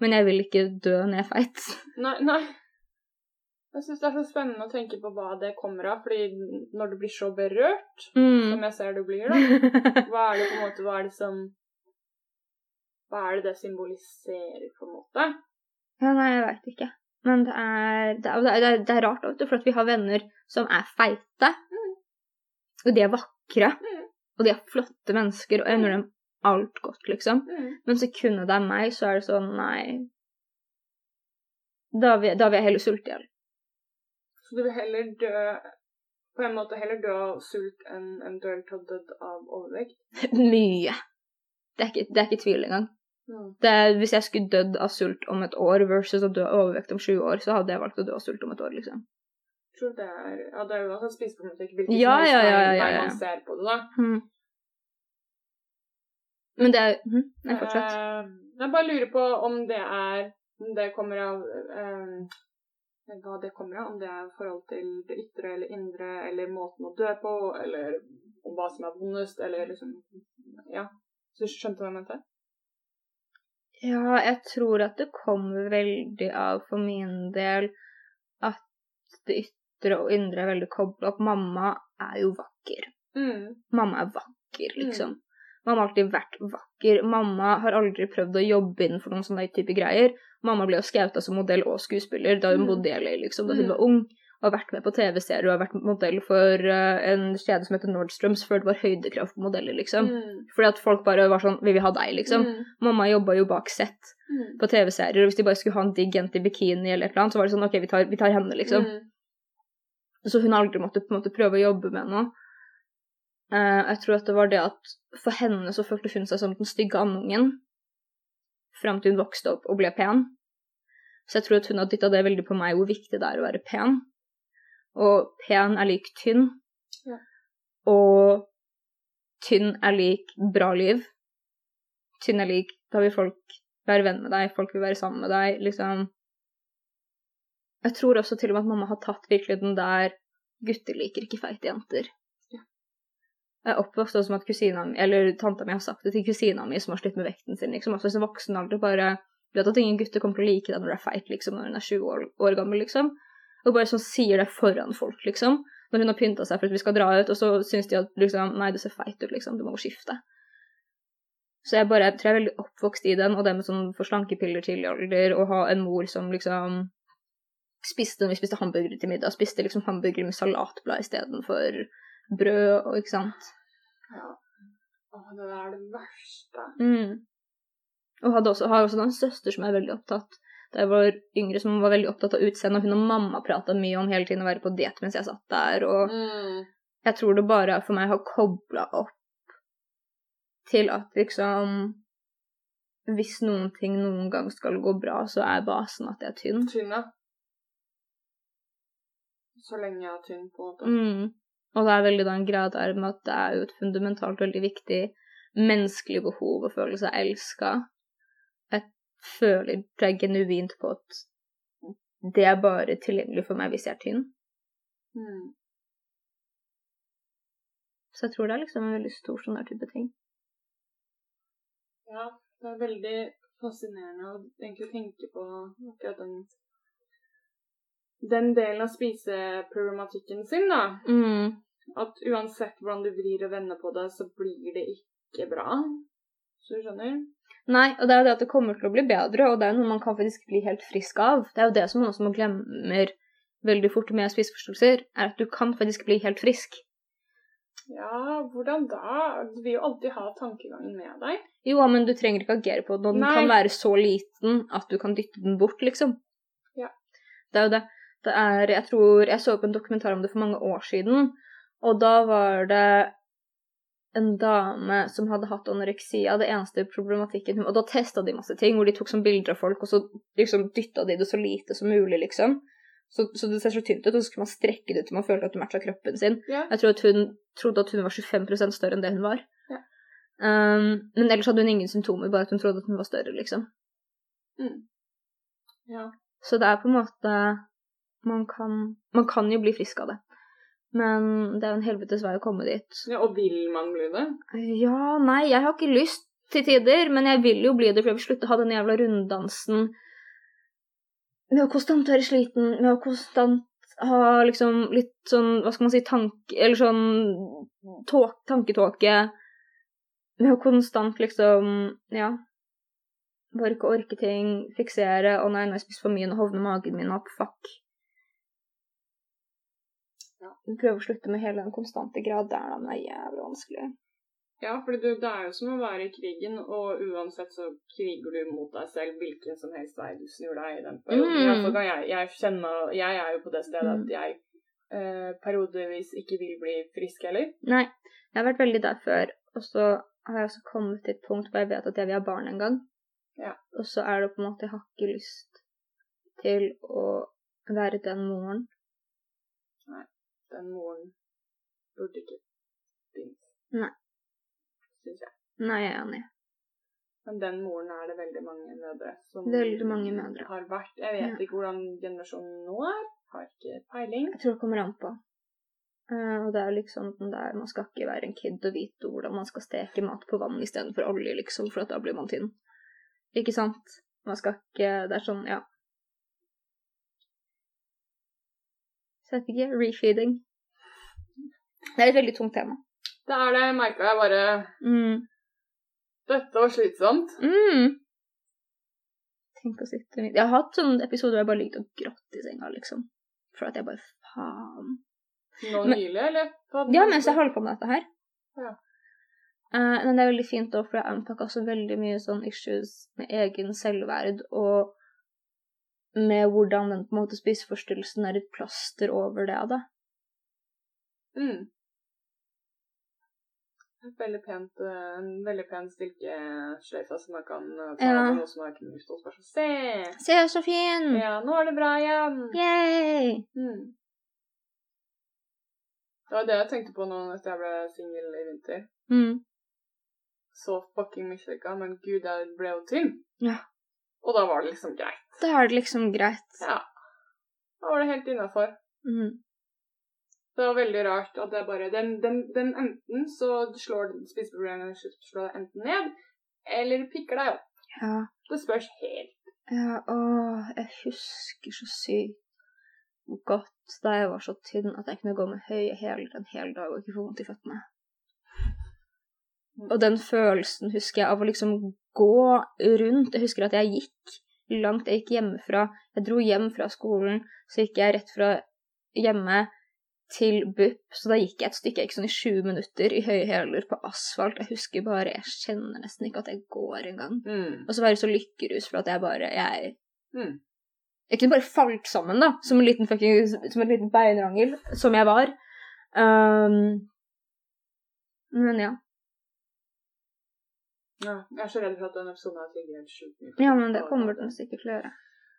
Speaker 1: Men jeg vil ikke dø når jeg er feit.
Speaker 2: Nei, nei. Jeg syns det er så spennende å tenke på hva det kommer av, fordi når du blir så berørt,
Speaker 1: Mm.
Speaker 2: som jeg ser du blir, da, hva er det på en måte, hva er det som Hva er det det symboliserer, på en måte?
Speaker 1: Ja, nei, jeg veit ikke. Men det er, det er, det er, det er rart, vet du, for at vi har venner som er feite. Og de er vakre.
Speaker 2: Mm.
Speaker 1: Og de er flotte mennesker, og jeg unner dem alt godt, liksom.
Speaker 2: Mm.
Speaker 1: Men sekundet det er meg, så er det sånn Nei. Da vil, da vil jeg heller sulte i hjel.
Speaker 2: Så du vil heller dø På en måte heller dø av sult enn eventuelt ha dødd av overvekt?
Speaker 1: Mye. Det er ikke, det er ikke tvil engang.
Speaker 2: Mm.
Speaker 1: Det, er- hvis jeg skulle dødd av sult om et år versus å dø av overvekt om 20 år, så hadde jeg valgt å dø av sult om et år, liksom.
Speaker 2: Tror det er Ja, det er jo altså spiseproblematikk hvilken
Speaker 1: Ja,
Speaker 2: som helst
Speaker 1: ja, ja,
Speaker 2: vei-
Speaker 1: ja,
Speaker 2: vei
Speaker 1: ja.
Speaker 2: man ser på det, da.
Speaker 1: Mhm. Men det er mhm, Nei, fortsett.
Speaker 2: Eh, jeg bare lurer på om det er Om det kommer av eh, Hva det kommer av. Om det er i forhold til det ytre eller indre, eller måten å dø på, eller om hva som er vondest, eller liksom Ja. Så du skjønte hva jeg mente?
Speaker 1: Ja, jeg tror at det kommer veldig av, for min del, at det ytre og indre er veldig kobla opp. Mamma er jo vakker.
Speaker 2: Mm.
Speaker 1: Mamma er vakker, liksom. Mamma har alltid vært vakker. Mamma har aldri prøvd å jobbe innenfor noen sånne type greier. Mamma ble jo skauta som modell og skuespiller da hun
Speaker 2: Mm.
Speaker 1: bodde i LA, liksom, da hun
Speaker 2: Mm.
Speaker 1: var ung. Og har vært med på TV-serier og har vært modell for eh, en kjede som heter Nordstroms før det var høydekrav på modeller, liksom.
Speaker 2: Mm.
Speaker 1: Fordi at folk bare var sånn Vi vil ha deg, liksom.
Speaker 2: Mm.
Speaker 1: Mamma jobba jo bak sett
Speaker 2: Mm.
Speaker 1: på TV-serier, og hvis de bare skulle ha en digg jente i bikini eller et eller annet, så var det sånn OK, vi tar, vi tar henne, liksom.
Speaker 2: Mm.
Speaker 1: Så hun har aldri måttet på en måte prøve å jobbe med noe. Eh, jeg tror at det var det at for henne så følte hun seg som den stygge andungen fram til hun vokste opp og ble pen. Så jeg tror at hun har dytta det veldig på meg hvor viktig det er å være pen. Og pen er lik tynn.
Speaker 2: Ja.
Speaker 1: Og tynn er lik bra liv. Tynn er lik da vil folk være venn med deg, folk vil være sammen med deg, liksom. Jeg tror også til og med at mamma har tatt virkelig den der gutter liker ikke feite jenter.
Speaker 2: Ja.
Speaker 1: Jeg er oppvokst også med at kusina mi, eller tanta mi har sagt det til kusina mi som har slitt med vekten sin, liksom. Altså i voksen alder bare Du vet at ingen gutter kommer til å like deg når du er feit, liksom, når hun er 20 år, år gammel, liksom. Og bare sånn sier det foran folk, liksom. Når hun har pynta seg for at vi skal dra ut, og så syns de at liksom Nei, du ser feit ut, liksom. Du må gå og skifte. Så jeg bare jeg tror jeg er veldig oppvokst i den, og det med sånn få slankepiller tidlig alder, og ha en mor som liksom spiste når vi spiste hamburgere til middag, spiste liksom hamburgere med salatblad istedenfor brød og ikke sant.
Speaker 2: Ja. Åh, det der er det verste.
Speaker 1: Mm. Og hadde også, har også da en søster som er veldig opptatt da jeg var yngre, som var veldig opptatt av utseende, og hun og mamma prata mye om hele tiden å være på diett mens jeg satt der, og
Speaker 2: Mm.
Speaker 1: Jeg tror det bare for meg har kobla opp til at liksom Hvis noen ting noen gang skal gå bra, så er basen at jeg er tynn.
Speaker 2: Tynn, ja. Så lenge jeg er tynn, på en måte.
Speaker 1: Mm. Og det er veldig da en greie der med at det er jo et fundamentalt veldig viktig menneskelig behov å føle seg elska. Jeg føler tror jeg genuint på at det er bare tilgjengelig for meg hvis jeg er tynn.
Speaker 2: Mm.
Speaker 1: Så jeg tror det er liksom en veldig stor sånn der type ting.
Speaker 2: Ja, det er veldig fascinerende å egentlig tenke på akkurat den den delen av spiseproblematikken sin, da.
Speaker 1: Mm.
Speaker 2: At uansett hvordan du vrir og vender på det, så blir det ikke bra. Så du skjønner?
Speaker 1: Nei, og det er jo det at det kommer til å bli bedre, og det er jo noe man kan faktisk bli helt frisk av. Det er jo det som man også må glemmer veldig fort med spiseforstyrrelser, er at du kan faktisk bli helt frisk.
Speaker 2: Ja, hvordan da? Du vil jo alltid ha tankegangen med deg.
Speaker 1: Jo, men du trenger ikke agere på den, og den
Speaker 2: Nei.
Speaker 1: kan være så liten at du kan dytte den bort, liksom.
Speaker 2: Ja.
Speaker 1: Det er jo det. Det er, jeg tror, jeg så på en dokumentar om det for mange år siden, og da var det en dame som hadde hatt anoreksia, det eneste problematikken hun Og da testa de masse ting, hvor de tok sånn bilder av folk, og så liksom dytta de det så lite som mulig, liksom. Så, så det ser så tynt ut, og så skulle man strekke det til man følte at det matcha kroppen sin.
Speaker 2: Ja.
Speaker 1: Jeg tror at hun trodde at hun var 25 større enn det hun var.
Speaker 2: Ja.
Speaker 1: Um, men ellers hadde hun ingen symptomer, bare at hun trodde at hun var større, liksom.
Speaker 2: Mm. Ja.
Speaker 1: Så det er på en måte Man kan, man kan jo bli frisk av det. Men det er jo en helvetes vei å komme dit.
Speaker 2: ja. Og vil man bli det?
Speaker 1: Ja, nei, jeg har ikke lyst til tider, men jeg vil jo bli det, for jeg vil slutte å ha den jævla runddansen med å konstant være sliten, med å konstant ha liksom litt sånn, hva skal man si, tanke Eller sånn tåk, tanketåke. Med å konstant liksom Ja. Bare ikke orke ting, fiksere Å nei, nå har jeg spist for mye, nå hovner magen min opp. Fuck. Ja. Prøve å slutte med hele den konstante grad der, da, men det er jævlig vanskelig.
Speaker 2: Ja, for det, det er jo som å være i krigen, og uansett så kriger du mot deg selv hvilken som helst vei du snur deg i den perioden.
Speaker 1: Mm.
Speaker 2: I hvert fall kan jeg, jeg kjenner Jeg er jo på det stedet
Speaker 1: Mm.
Speaker 2: at jeg eh, periodevis ikke vil bli frisk heller.
Speaker 1: Nei, jeg har vært veldig der før, og så har jeg også kommet til et punkt hvor jeg vet at jeg vil ha barn en gang.
Speaker 2: Ja.
Speaker 1: Og så er det på en måte Jeg har ikke lyst til å være den moren.
Speaker 2: Den moren burde ikke finnes.
Speaker 1: Nei.
Speaker 2: Syns jeg.
Speaker 1: Nei, jeg er enig.
Speaker 2: Men den moren er det veldig mange mødre som
Speaker 1: Veldig mange mødre.
Speaker 2: har vært. Jeg vet
Speaker 1: Ja.
Speaker 2: ikke hvordan generasjonen nå er. Har ikke peiling.
Speaker 1: Jeg tror det kommer an på. Eh, og det er liksom den der Man skal ikke være en kid og vite hvordan man skal steke mat på vann istedenfor olje, liksom, for at da blir man tynn. Ikke sant? Man skal ikke Det er sånn, ja. Så jeg vet ikke. Refeeding. Det er et veldig tungt tema.
Speaker 2: Det er det, merka jeg bare.
Speaker 1: Mm.
Speaker 2: Dette var slitsomt.
Speaker 1: Mm. Tenk å sitte Jeg har hatt sånne episoder hvor jeg bare ligger og grått i senga, liksom. For at jeg bare Faen.
Speaker 2: Nå
Speaker 1: Men-
Speaker 2: nylig, eller? På-
Speaker 1: Ja, mens jeg holder på med dette her.
Speaker 2: Ja.
Speaker 1: Eh, men det er veldig fint òg, for jeg anpakka også veldig mye sånn issues med egen selvverd og med hvordan den på en måte spiseforstyrrelsen er et plaster over det. da.
Speaker 2: Mm. Et Veldig pent, eh, en veldig pen silkesløyfe som man kan eh, ta
Speaker 1: Ja. Mm.
Speaker 2: av noe som er knust, og så bare sånn,
Speaker 1: Se, jeg er så fin!
Speaker 2: se! Ja, nå er det bra igjen!
Speaker 1: Yay!
Speaker 2: Mm. Det var det jeg tenkte på nå etter jeg ble singel i vinter.
Speaker 1: Mm.
Speaker 2: Så fucking mislykka, men gud, jeg ble jo tynn.
Speaker 1: Ja.
Speaker 2: Og da var det liksom greit.
Speaker 1: Da er det liksom greit.
Speaker 2: Ja. Da var det helt innafor.
Speaker 1: Mm.
Speaker 2: Det var veldig rart at det bare Den, den, den enten så slår spiseproblemene slår deg enten ned, eller pikker deg opp.
Speaker 1: Ja.
Speaker 2: Det spørs helt.
Speaker 1: Ja, åh, jeg husker så sykt godt da jeg var så tynn at jeg kunne gå med høye hæler en hel dag og ikke få vondt i føttene. Og den følelsen husker jeg av å liksom gå rundt. Jeg husker at jeg gikk langt. Jeg gikk hjemmefra. Jeg dro hjem fra skolen, så gikk jeg rett fra hjemme til BUP. Så da gikk jeg et stykke, jeg gikk sånn i 20 minutter i høye hæler på asfalt. Jeg husker bare Jeg kjenner nesten ikke at jeg går engang. Og så være så lykkerus for at jeg bare Jeg,
Speaker 2: Mm.
Speaker 1: jeg kunne bare falt sammen, da. Som en liten, fucking, som en liten beinrangel. Som jeg var. Ehm, men ja.
Speaker 2: Ja, jeg er så redd for at denne episoden har trigget helt sjukt mye.
Speaker 1: Ja, men det kommer den sikkert til å gjøre.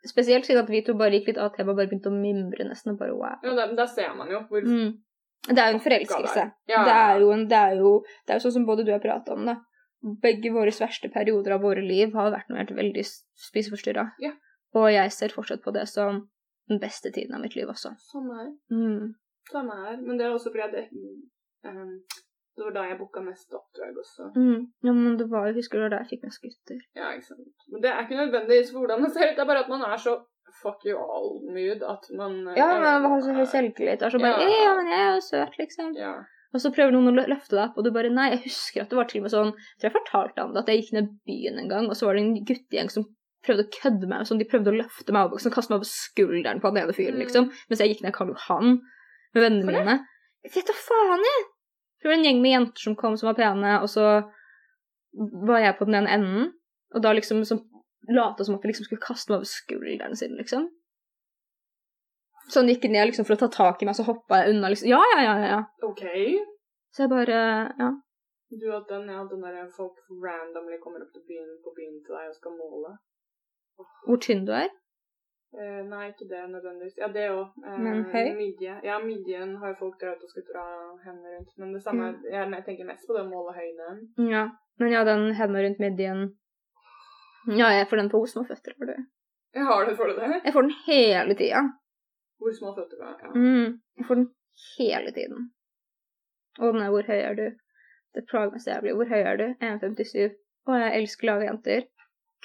Speaker 1: Spesielt siden at vi to bare gikk litt av tema og bare begynte å mimre nesten. og bare wow.
Speaker 2: Ja, der, der ser man jo hvor
Speaker 1: Mm. Det er jo en forelskelse.
Speaker 2: altså. Ja,
Speaker 1: Det er jo en Det er jo, det er jo sånn som både du og jeg prata om, da. Begge våre verste perioder av våre liv har vært når jeg har vært veldig spiseforstyrra.
Speaker 2: Ja.
Speaker 1: Og jeg ser fortsatt på det som den beste tiden av mitt liv også.
Speaker 2: Samme her.
Speaker 1: Mm.
Speaker 2: Samme her. Men det er også fordi at jeg, ehm, det var da jeg booka mest oppdrag også.
Speaker 1: Mm. Ja, men det var, jeg husker det var da jeg fikk mest gutter.
Speaker 2: Ja, ikke sant. Men det er ikke nødvendigvis hvordan det ser ut, det er bare at man er så fuck you all-mood at man eh,
Speaker 1: Ja, men jeg har så høy selvtillit. Og så bare
Speaker 2: Ja.
Speaker 1: «Eh, ja, men jeg er jo søt, liksom.
Speaker 2: Ja.
Speaker 1: Og så prøver noen å lø- løfte deg opp, og du bare Nei, jeg husker at det var til og med sånn Jeg tror jeg fortalte om det, at jeg gikk ned byen en gang, og så var det en guttegjeng som prøvde å kødde meg, og sånn, de prøvde å løfte meg opp, og sånn, kaste meg over skulderen på han ene fyren,
Speaker 2: Mm.
Speaker 1: liksom. Mens jeg gikk ned Karl Johan med vennene
Speaker 2: Hvorfor det?
Speaker 1: mine. Jeg vet da faen, jeg! Det var en gjeng med jenter som kom som var pene, og så var jeg på den ene enden, og da liksom som lata som at de liksom skulle kaste meg over skulderen sin, liksom. Så han gikk ned liksom for å ta tak i meg, så hoppa jeg unna, liksom. Ja, ja, ja, ja, ja.
Speaker 2: OK.
Speaker 1: Så jeg bare Ja.
Speaker 2: Du at den, ja, den der folk randomly kommer opp til byen, på byen til deg og skal måle.
Speaker 1: Hvor tynn du er?
Speaker 2: Eh, nei, ikke det nødvendigvis. Ja, det òg. Eh,
Speaker 1: Men høy?
Speaker 2: Midje. Ja, midjen har jo folk drevet og skutt dra hendene rundt. Men det samme,
Speaker 1: Mm.
Speaker 2: jeg, jeg tenker mest på det å måle høyden.
Speaker 1: Ja. Men ja, den henda rundt midjen Ja, jeg får den på hvor små føtter har du?
Speaker 2: Jeg har det for det.
Speaker 1: Jeg får den hele tida.
Speaker 2: Hvor små føtter du har. Ja.
Speaker 1: Mm. Jeg får den hele tiden. Og den er 'Hvor høy er du?' Det plager meg så jævlig. Hvor høy er du? 1,57. Å, jeg elsker lave jenter.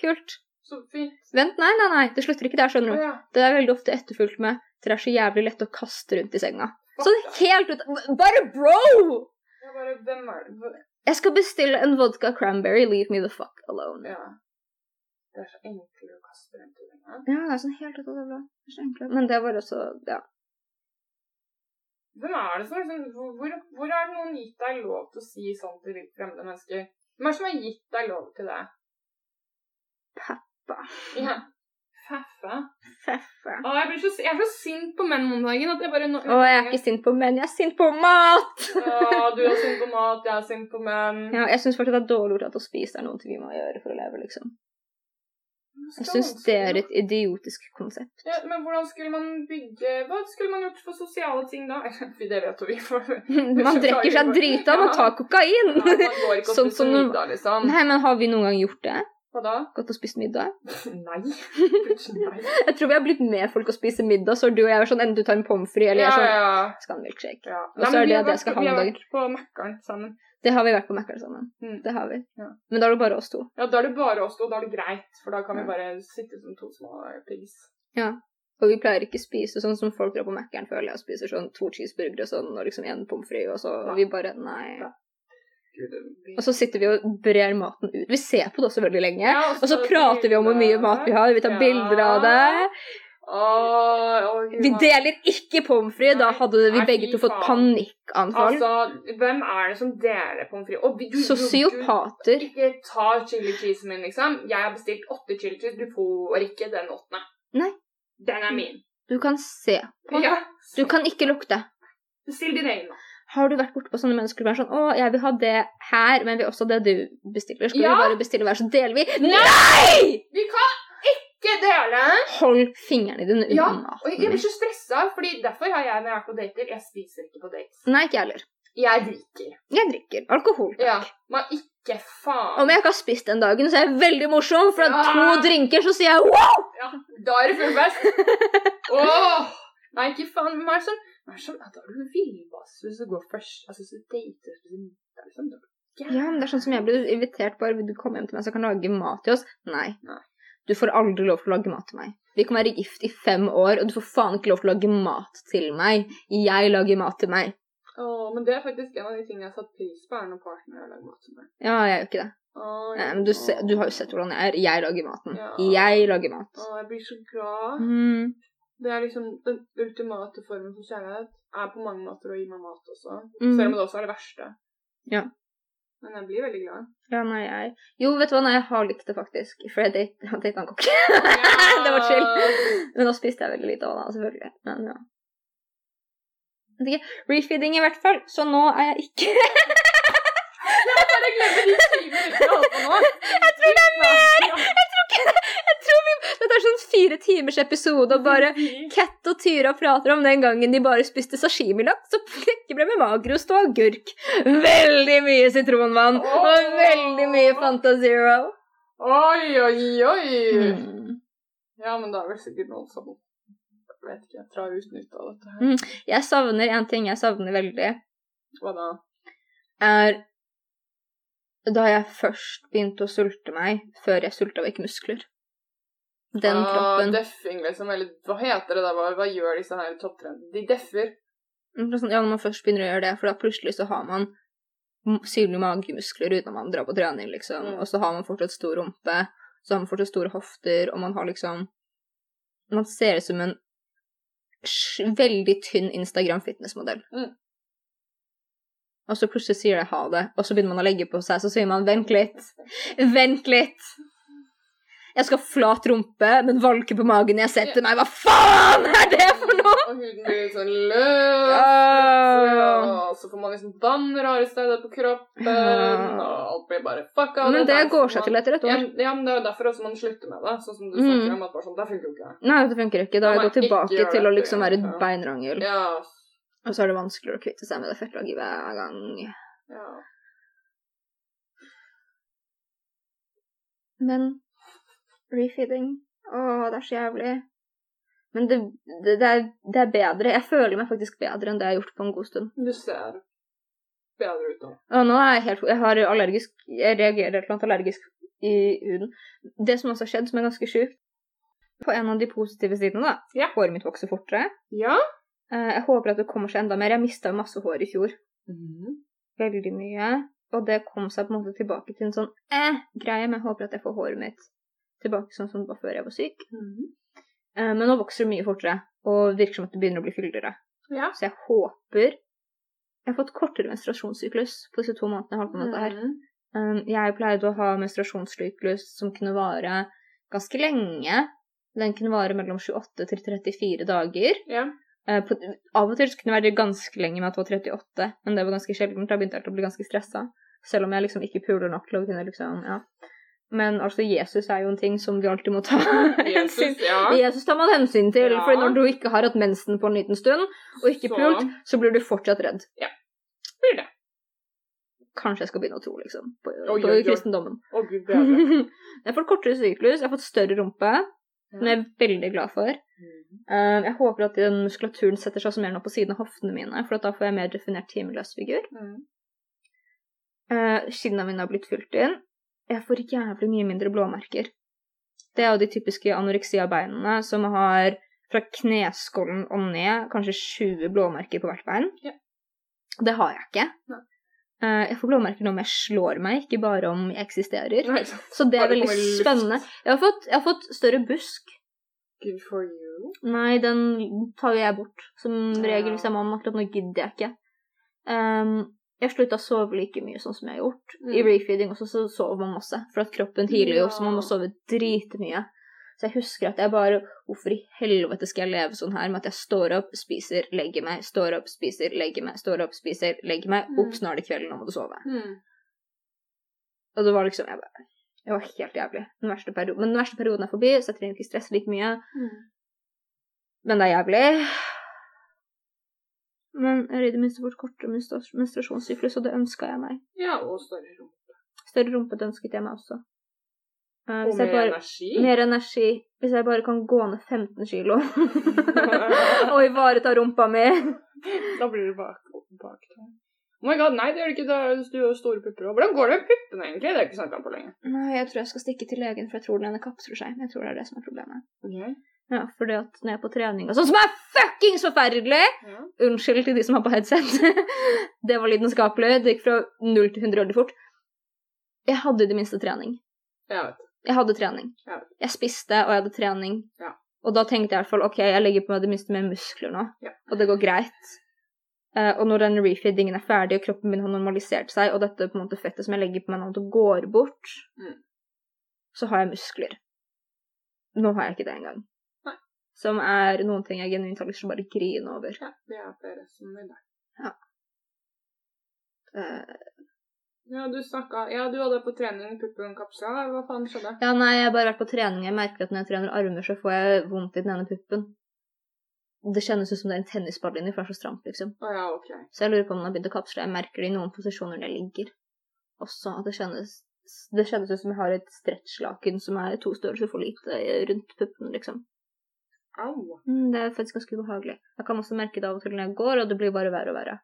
Speaker 1: Kult.
Speaker 2: Så fint.
Speaker 1: Vent, nei, nei, nei. Det slutter ikke der,
Speaker 2: Å
Speaker 1: skjønner du.
Speaker 2: ja.
Speaker 1: Det er veldig ofte etterfulgt med 'Dere er så jævlig lette å kaste rundt i senga'. Sånn helt ut Bare bro!
Speaker 2: Jeg bare Hvem er det?
Speaker 1: Jeg skal bestille en vodka cranberry. Leave me the fuck alone.
Speaker 2: Ja. Det er så enkelt å kaste rundt i lenge.
Speaker 1: Ja, det er sånn helt ut av det blå. Det er så enkelt. Men det var også Ja.
Speaker 2: Hvem er det som liksom, hvor, hvor, hvor har noen gitt deg lov til å si sånn til vilt fremmede mennesker? Hvem er det som har gitt deg lov til det?
Speaker 1: Pappa.
Speaker 2: Ja. Feffe.
Speaker 1: Feffe.
Speaker 2: Å, jeg, blir så, jeg er så sint på menn om dagen at jeg bare nå-
Speaker 1: Å, jeg er ikke sint på menn, jeg er sint på mat!
Speaker 2: Å, du er sint på mat, jeg er sint på menn.
Speaker 1: Ja, jeg syns fortsatt det er dårlig gjort at å spise er noe vi må gjøre for å leve, liksom. Jeg syns det er et idiotisk konsept.
Speaker 2: ja, Men hvordan skulle man bygge Hva skulle man gjort for sosiale ting da? Fy, Det vet jo vi, for ja,
Speaker 1: Man drikker seg drita av å ta kokain!
Speaker 2: man går ikke og
Speaker 1: Sånn
Speaker 2: spiser
Speaker 1: som når-
Speaker 2: middag, liksom.
Speaker 1: Nei, men har vi noen gang gjort det?
Speaker 2: Hva da?
Speaker 1: Gått og spist middag?
Speaker 2: Nei. Nei.
Speaker 1: Jeg tror vi har blitt med folk og spise middag, så du og jeg er sånn enten du tar en pommes frites eller jeg
Speaker 2: Ja,
Speaker 1: er sånn
Speaker 2: ja.
Speaker 1: skal ha en milkshake.
Speaker 2: ja.
Speaker 1: Og så
Speaker 2: men
Speaker 1: er
Speaker 2: vi
Speaker 1: det at
Speaker 2: har
Speaker 1: jeg
Speaker 2: vært-
Speaker 1: skal ha
Speaker 2: Vi har
Speaker 1: middagen.
Speaker 2: vært på Mækkern sammen.
Speaker 1: Det har vi vært på Mækkern sammen.
Speaker 2: Mm.
Speaker 1: Det har vi.
Speaker 2: Ja.
Speaker 1: Men da er det bare oss to.
Speaker 2: Ja, da er det bare oss to, og da er det greit, for da kan vi
Speaker 1: Ja.
Speaker 2: bare sitte som to små pigs.
Speaker 1: Og vi pleier ikke spise sånn som folk drar på Mækkern, føler jeg, og spiser sånn to cheeseburgere og sånn, og liksom en pommes frites, og så
Speaker 2: Nei.
Speaker 1: og vi bare Nei.
Speaker 2: Nei. Gud, det-
Speaker 1: Og så sitter vi og brer maten ut. Vi ser på det også veldig lenge.
Speaker 2: Ja,
Speaker 1: Og så prater vi om hvor mye mat vi har, vi tar
Speaker 2: Ja.
Speaker 1: bilder av det.
Speaker 2: Åh, åh, Gud,
Speaker 1: Vi
Speaker 2: hva-
Speaker 1: deler ikke pommes frites, da
Speaker 2: Nei.
Speaker 1: hadde vi
Speaker 2: Nei,
Speaker 1: begge
Speaker 2: fy
Speaker 1: to fått
Speaker 2: faen.
Speaker 1: panikkanfall.
Speaker 2: Altså, hvem er det som deler pommes frites? Å, Gud, Gud, Gud,
Speaker 1: Sosiopater.
Speaker 2: Ikke ta chili cheesen min, liksom. Jeg har bestilt åtte chili cheese, du får ikke den åttende.
Speaker 1: Nei.
Speaker 2: Den er min.
Speaker 1: Du kan se. på.
Speaker 2: Ja.
Speaker 1: Du kan ikke lukte.
Speaker 2: Bestill din egen, da.
Speaker 1: Har du vært borte på sånne mennesker som er sånn 'Å, jeg vil ha det her, men jeg vil også det du bestiller.' Skal
Speaker 2: Ja.
Speaker 1: vi bare bestille hver, så deler vi? Nei!
Speaker 2: Vi kan ikke dele!
Speaker 1: Hold fingrene dine unna
Speaker 2: Ja, Og jeg
Speaker 1: maten.
Speaker 2: blir så stressa, fordi derfor har jeg når jeg er på dater Jeg spiser ikke på dates.
Speaker 1: Nei, ikke jeg heller.
Speaker 2: Jeg drikker.
Speaker 1: Jeg drikker alkohol.
Speaker 2: Ja. Men ikke
Speaker 1: Om
Speaker 2: faen.
Speaker 1: jeg ikke har spist den dagen, så er jeg veldig morsom, for
Speaker 2: Ja.
Speaker 1: at to drinker, så sier jeg wow!
Speaker 2: Ja, da er det full fest. Åh! Nei, ikke faen. Men hva er det sånn Hva er det sånn ja, Da er du villbass hvis du går først. Altså, hvis du dater hvis du middag, liksom. Da.
Speaker 1: Ja, men det er sånn som jeg blir invitert bare vil du komme hjem til meg så jeg kan lage mat til oss. Nei.
Speaker 2: Nei.
Speaker 1: Du får aldri lov til å lage mat til meg. Vi kan være gift i fem år, og du får faen ikke lov til å lage mat til meg. Jeg lager mat til meg.
Speaker 2: Åh, men det er faktisk en av de tingene jeg har satt pris på, er når partner har lagd mat til meg.
Speaker 1: Ja, jeg gjør ikke det.
Speaker 2: Åh,
Speaker 1: Nei, men du, se, du har jo sett hvordan jeg er. Jeg lager maten.
Speaker 2: Ja.
Speaker 1: Jeg lager mat.
Speaker 2: Åh, jeg blir så glad.
Speaker 1: Mm.
Speaker 2: Det er liksom den ultimate formen for kjærlighet. Er på mange måter å gi meg mat også.
Speaker 1: Mm.
Speaker 2: Selv om det også er det verste.
Speaker 1: Ja.
Speaker 2: Men jeg blir veldig glad.
Speaker 1: Ja, nei, jeg Jo, vet du hva, nei, jeg har likt det faktisk. For jeg date- jeg har data en kokk. det var chill. Men da spiste jeg veldig lite av det, selvfølgelig. Men ja. Vet ikke. Refeeding i hvert fall, så nå er jeg ikke
Speaker 2: Jeg bare glemmer de syv minuttene jeg holdt på nå. Jeg tror det er mer!
Speaker 1: Jeg tror vi Dette er sånn fire timers episode, og bare Kat og Tyra prater om den gangen de bare spiste sashimilaks og knekkebrød med magrost og agurk. Veldig mye sitronvann og veldig mye Fanta Zero.
Speaker 2: Oi, oi, oi!
Speaker 1: Mm.
Speaker 2: Ja, men det er vel sikkert noen som jeg vet ikke, jeg drar uten ut av dette her.
Speaker 1: Jeg savner en ting jeg savner veldig,
Speaker 2: Hva da?
Speaker 1: er da jeg først begynte å sulte meg før jeg sulta vekk muskler. Den
Speaker 2: Ah,
Speaker 1: kroppen.
Speaker 2: Deffing, liksom. Eller hva heter det der? Hva, hva gjør disse her topptrendene? De deffer.
Speaker 1: Men sånn, Ja, når man først begynner å gjøre det, for da plutselig så har man m- synlige magemuskler uten at man drar på trening, liksom.
Speaker 2: Mm.
Speaker 1: Og så har man fortsatt stor rumpe, så har man fortsatt store hofter, og man har liksom Man ser ut som en sj- veldig tynn Instagram fitnessmodell.
Speaker 2: Mm.
Speaker 1: Og så plutselig sier det ha det, og så begynner man å legge på seg, så sier man vent litt, vent litt. Jeg skal ha flat rumpe, men valke på magen når jeg setter meg. Hva faen er det for noe?!
Speaker 2: Og huden blir litt sånn løs.
Speaker 1: Åh.
Speaker 2: Og så får man liksom vann rare steder på kroppen,
Speaker 1: Ja.
Speaker 2: og alt blir bare fucka.
Speaker 1: Men
Speaker 2: Det er
Speaker 1: det
Speaker 2: derfor
Speaker 1: går seg
Speaker 2: man-
Speaker 1: til etter et
Speaker 2: Ja,
Speaker 1: år.
Speaker 2: ja, men det er jo derfor også man slutter med det. Sånn som du
Speaker 1: Mm.
Speaker 2: snakker om at bare sånn, det funker jo ikke.
Speaker 1: Nei, det funker ikke. Da har jeg
Speaker 2: Nei,
Speaker 1: gått tilbake
Speaker 2: ikke gjør
Speaker 1: til å
Speaker 2: det.
Speaker 1: liksom være et
Speaker 2: Ja.
Speaker 1: beinrangel.
Speaker 2: Ja.
Speaker 1: Og så er det vanskeligere å kvitte seg med det fettlaget hver gang.
Speaker 2: ja.
Speaker 1: Men refeeding Å, det er så jævlig. Men det, det, det, er, det er bedre. Jeg føler meg faktisk bedre enn det jeg har gjort på en god stund.
Speaker 2: Du ser bedre ut nå.
Speaker 1: Og nå er jeg helt Jeg har allergisk Jeg reagerer et eller annet allergisk i huden. Det som også har skjedd, som er ganske sjukt På en av de positive sidene, da.
Speaker 2: Ja.
Speaker 1: Håret mitt vokser fortere.
Speaker 2: Ja.
Speaker 1: Eh, Jeg håper at det kommer seg enda mer. Jeg mista jo masse hår i fjor.
Speaker 2: Mm.
Speaker 1: veldig eh, mye. Og det kom seg på en måte tilbake til en sånn eh-greie, men jeg håper at jeg får håret mitt tilbake sånn som det var før jeg var syk.
Speaker 2: Mhm.
Speaker 1: Eh, men nå vokser det mye fortere, og virker som at det begynner å bli fyldigere.
Speaker 2: Ja.
Speaker 1: Så jeg håper Jeg har fått kortere menstruasjonssyklus på disse to månedene jeg har holdt på med dette Mm. her.
Speaker 2: Mhm.
Speaker 1: Um, jeg pleide å ha menstruasjonssyklus som kunne vare ganske lenge. Den kunne vare mellom 28 til 34 dager.
Speaker 2: Ja.
Speaker 1: Eh, på, av og til så kunne det være ganske lenge med at det var 38, men det var ganske sjeldent. Da begynte jeg å bli ganske stressa, selv om jeg liksom ikke puler nok til å kunne liksom Ja. Men altså, Jesus er jo en ting som vi alltid må ta hensyn
Speaker 2: Jesus, ja.
Speaker 1: Jesus tar man hensyn til,
Speaker 2: Ja.
Speaker 1: for når du ikke har hatt mensen på en liten stund, og ikke
Speaker 2: Så-
Speaker 1: pult, så blir du fortsatt redd.
Speaker 2: Blir det.
Speaker 1: Kanskje jeg skal begynne å tro, liksom, på,
Speaker 2: Oi,
Speaker 1: på
Speaker 2: oi, oi.
Speaker 1: kristendommen.
Speaker 2: Å, gud bedre. Mhm.
Speaker 1: jeg har fått kortere syklus, jeg har fått større rumpe, som jeg er veldig glad for.
Speaker 2: Mhm.
Speaker 1: Eh, Jeg håper at den muskulaturen setter seg også mer nå på siden av hoftene mine, for at da får jeg mer definert timeløs figur.
Speaker 2: Mhm.
Speaker 1: Eh, Skinnene mine har blitt fylt inn. Jeg får jævlig mye mindre blåmerker. Det er jo de typiske anoreksia-beinene som har fra kneskålen og ned kanskje 20 blåmerker på hvert bein.
Speaker 2: Ja.
Speaker 1: Det har jeg ikke.
Speaker 2: Nei.
Speaker 1: Eh, Jeg får blåmerker nå om jeg slår meg, ikke bare om jeg eksisterer.
Speaker 2: Nei, så-
Speaker 1: Så det er
Speaker 2: Bare
Speaker 1: veldig
Speaker 2: kommer luft.
Speaker 1: spennende. Jeg har, fått, jeg har fått større busk.
Speaker 2: Good for you.
Speaker 1: Nei, den tar jo jeg bort som regel
Speaker 2: Ja.
Speaker 1: hvis jeg må, men akkurat nå gidder jeg ikke. Ehm, jeg slutta å sove like mye sånn som jeg har gjort. I
Speaker 2: Mm.
Speaker 1: refeeding også så sover man masse, for at kroppen tidlig jo, så man må
Speaker 2: Ja.
Speaker 1: sove dritmye. Så jeg husker at jeg bare Hvorfor i helvete skal jeg leve sånn her med at jeg står opp, spiser, legger meg, står opp, spiser, legger meg, står opp, spiser, legger meg,
Speaker 2: Mm.
Speaker 1: opp, nå er det kvelden, nå må du sove.
Speaker 2: Mhm.
Speaker 1: Og det var liksom Jeg bare Jeg var helt jævlig. Den verste perioden, men den verste perioden er forbi, så jeg trenger ikke stresse like mye.
Speaker 2: Mhm.
Speaker 1: Men det er jævlig. Men jeg rydder minst bort kortere menstrua- menstruasjonssyklus, og det ønska jeg meg.
Speaker 2: Ja, og større rom.
Speaker 1: Større rumpete ønsket jeg meg også. Eh,
Speaker 2: Og
Speaker 1: hvis
Speaker 2: mer
Speaker 1: jeg bare,
Speaker 2: energi.
Speaker 1: mer energi. Hvis jeg bare kan gå ned 15 kilo og ivareta rumpa mi.
Speaker 2: Da blir det bak, bak Oh my god, nei, det gjør det ikke. Da er det- du har store pupper også. Hvordan går det med puppene, egentlig? Det har jeg ikke snakket om på lenge.
Speaker 1: Nei, jeg tror jeg skal stikke til legen, for jeg tror den ene kapsler seg. Men jeg tror det er det som er problemet.
Speaker 2: Okay.
Speaker 1: Ja, fordi at når jeg er på trening og sånn, som er fuckings forferdelig
Speaker 2: Ja.
Speaker 1: Unnskyld til de som har på headset. det var lidenskapelig. Det gikk fra 0 til 100 veldig fort. Jeg hadde i det minste trening.
Speaker 2: Jeg vet.
Speaker 1: Jeg hadde trening.
Speaker 2: Ja.
Speaker 1: Jeg spiste, og jeg hadde trening.
Speaker 2: Ja.
Speaker 1: Og da tenkte jeg i hvert fall OK, jeg legger på meg det minste mer muskler nå,
Speaker 2: Ja.
Speaker 1: og det går greit. Eh, og når den refeedingen er ferdig, og kroppen min har normalisert seg, og dette på en måte fettet som jeg legger på meg nå, det går bort,
Speaker 2: Mm.
Speaker 1: så har jeg muskler. Nå har jeg ikke det engang.
Speaker 2: Nei.
Speaker 1: Som er noen ting jeg genuint har lyst til å bare grine over.
Speaker 2: Ja, det er flere som vil det.
Speaker 1: Eh,
Speaker 2: Ja, du snakket Ja, du hadde på trening puppen kapsla. Hva faen skjedde?
Speaker 1: ja, nei, jeg har bare vært på trening. Jeg merker at når jeg trener armer, så får jeg vondt i den ene puppen. Det kjennes ut som det er en tennisball inni, for det er så stramt, liksom.
Speaker 2: Å ja, OK.
Speaker 1: Så jeg lurer på om den har begynt å kapsle. Jeg merker det i noen posisjoner det ligger. Også at det kjennes det kjennes ut som jeg har et stretchlaken som er to størrelser for lite rundt puppen, liksom.
Speaker 2: Au.
Speaker 1: Mm, Det er faktisk ganske ubehagelig. Jeg kan også merke det av og til når jeg går, og det blir bare verre og verre.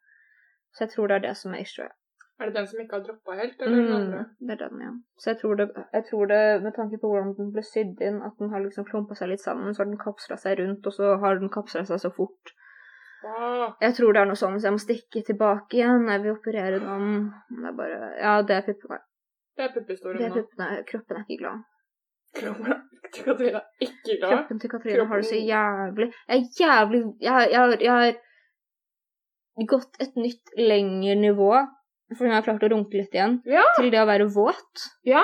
Speaker 1: Så jeg tror det er det som er issue.
Speaker 2: Er det den som ikke har droppa helt, eller den
Speaker 1: Mm,
Speaker 2: andre?
Speaker 1: det er den, ja. Så jeg tror, det, jeg tror det, med tanke på hvordan den ble sydd inn, at den har liksom klumpa seg litt sammen, så har den kapsla seg rundt, og så har den kapsla seg så fort.
Speaker 2: Åh,
Speaker 1: Jeg tror det er noe sånn, så jeg må stikke tilbake igjen. Jeg vil operere den. Det er bare Ja, det er puppene.
Speaker 2: det er
Speaker 1: Det
Speaker 2: puppehistorien
Speaker 1: er
Speaker 2: nå.
Speaker 1: puppene. Kroppen er ikke glad.
Speaker 2: Kroppen til Katrine er ikke glad.
Speaker 1: Kroppen til Katrine har det så
Speaker 2: Kroppen-
Speaker 1: jævlig Jeg er jævlig Jeg har- jeg har- jeg har gått et nytt lengre nivå, for nå har jeg klart å runke litt igjen,
Speaker 2: Ja.
Speaker 1: til det å være våt.
Speaker 2: Ja.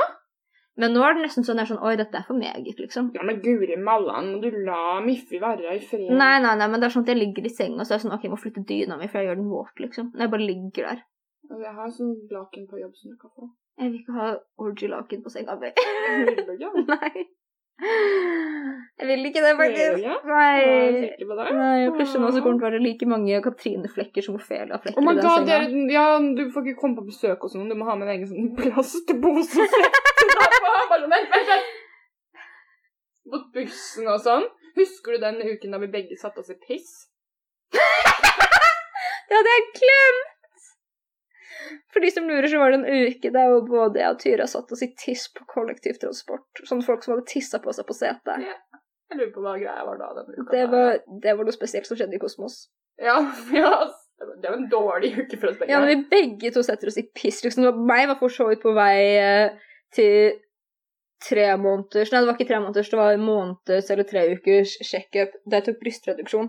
Speaker 1: Men nå er det nesten sånn jeg er sånn Oi, dette er for meget, liksom.
Speaker 2: Ja, men guri mallan, må du la Miffi være i fred?
Speaker 1: Nei, nei, nei, men det er sånn at jeg ligger i senga og så er jeg sånn OK, jeg må flytte dyna mi, for jeg gjør den våt, liksom. Når jeg bare ligger der.
Speaker 2: Og Jeg har sånn laken på jobb som du kan få.
Speaker 1: Jeg vil ikke ha orgy-laken på senga mi.
Speaker 2: Vil du ikke?
Speaker 1: Nei. Jeg vil ikke det,
Speaker 2: Vil du
Speaker 1: faktisk.
Speaker 2: ikke? Jeg
Speaker 1: Nei.
Speaker 2: er sikker på det.
Speaker 1: Nei, og plutselig nå så kommer det til å være like mange Katrine-flekker som Ophelia-flekker
Speaker 2: Oh my
Speaker 1: i den
Speaker 2: god, det
Speaker 1: senga.
Speaker 2: er, ja, du får ikke komme på besøk og sånn. Du må ha med en egen sånn plastpose. og sette deg på. Bare sånn, vent, vent, vent. Mot bussen og sånn. Husker du den uken da vi begge satte oss i piss?
Speaker 1: Det hadde jeg glemt! For de som lurer, så var det en uke der hvor både jeg og Tyra satt oss i tiss på kollektivtransport. Sånne folk som hadde tissa på seg på setet.
Speaker 2: Jeg lurer på hva greia var da. Den uka
Speaker 1: Det
Speaker 2: der.
Speaker 1: var, det var noe spesielt som skjedde i kosmos.
Speaker 2: Ja, ja, ass. Det var en dårlig uke for oss begge.
Speaker 1: Ja, når vi begge to setter oss i piss, liksom. Det var- Meg var for så vidt på vei eh, til tre måneders Nei, det var ikke tre måneders, det var en måneds eller tre ukers sjekkup da jeg tok brystreduksjon.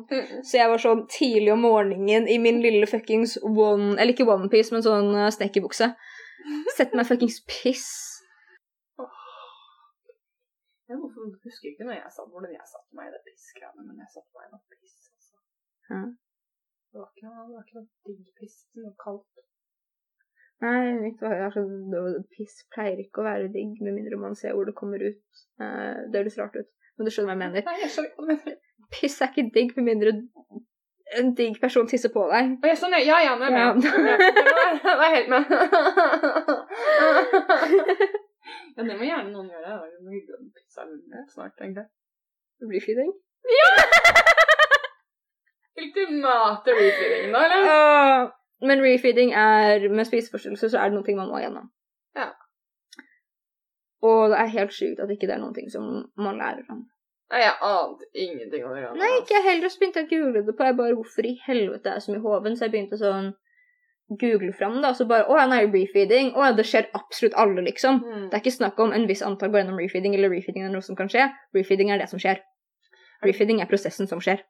Speaker 1: Så jeg var sånn tidlig om morgenen i min lille fuckings one Eller ikke onepiece, men sånn uh, snekkerbukse. Sett meg fuckings piss.
Speaker 2: Jeg hvorfor husker ikke når jeg satt, hvordan jeg satte meg i det pissgreiene, men jeg satte meg i noe piss. Altså.
Speaker 1: Ja.
Speaker 2: Det var ikke noe, det var ikke noe digg piss, noe kaldt.
Speaker 1: Nei, mitt var altså, det- piss pleier ikke å være digg, med mindre man ser hvor det kommer ut. Eh, det høres rart ut, men du skjønner hva jeg mener.
Speaker 2: Nei, jeg skjønner ikke hva du mener.
Speaker 1: Piss er ikke digg med mindre en digg person tisser på deg.
Speaker 2: Å, jeg skjønner, ja, ja, nå er jeg med.
Speaker 1: Ja.
Speaker 2: Ja, nå er jeg helt med. Ja, det må gjerne noen gjøre. Det var hyggelig å pisse litt snart, egentlig.
Speaker 1: Refeeding?
Speaker 2: Ultimate refeeding, da, eller?
Speaker 1: Uh, men refeeding er Med spiseforstyrrelser så er det noen ting man må igjennom.
Speaker 2: Ja.
Speaker 1: Og det er helt sjukt at ikke det er noen ting som man lærer om.
Speaker 2: Nei, jeg ante ingenting om det. grann,
Speaker 1: Nei,
Speaker 2: altså.
Speaker 1: ikke jeg heller, så begynte jeg å google det på. Jeg bare, hvorfor i helvete er jeg så mye hoven? Så jeg begynte sånn google fram det, og så bare, åja, nei, refeeding. Åja, det skjer absolutt alle, liksom.
Speaker 2: Mm.
Speaker 1: Det er ikke snakk om en viss antall går gjennom refeeding, eller refeeding er noe som kan skje. Refeeding er det som skjer. Refeeding er prosessen som skjer.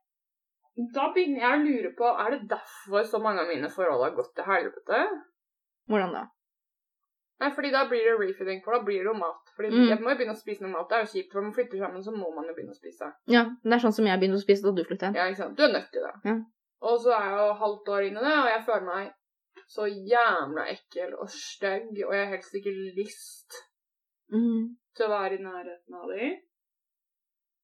Speaker 2: Da begynner jeg å lure på, er det derfor så mange av mine forhold har gått til helvete?
Speaker 1: Hvordan da?
Speaker 2: Nei, fordi da blir det refeeding, for da blir det jo mat. Fordi
Speaker 1: Mm.
Speaker 2: jeg må jo begynne å spise noe mat, det er jo kjipt, for når man flytter sammen, så må man jo begynne å spise.
Speaker 1: Ja, det er sånn som jeg begynte å spise da du flyttet.
Speaker 2: Ja, ikke sant? Du er nødt til det.
Speaker 1: Ja.
Speaker 2: Og så er jeg jo halvt år inne i det, og jeg føler meg så jævla ekkel og stygg, og jeg har helst ikke lyst
Speaker 1: Mm.
Speaker 2: til å være i nærheten av de.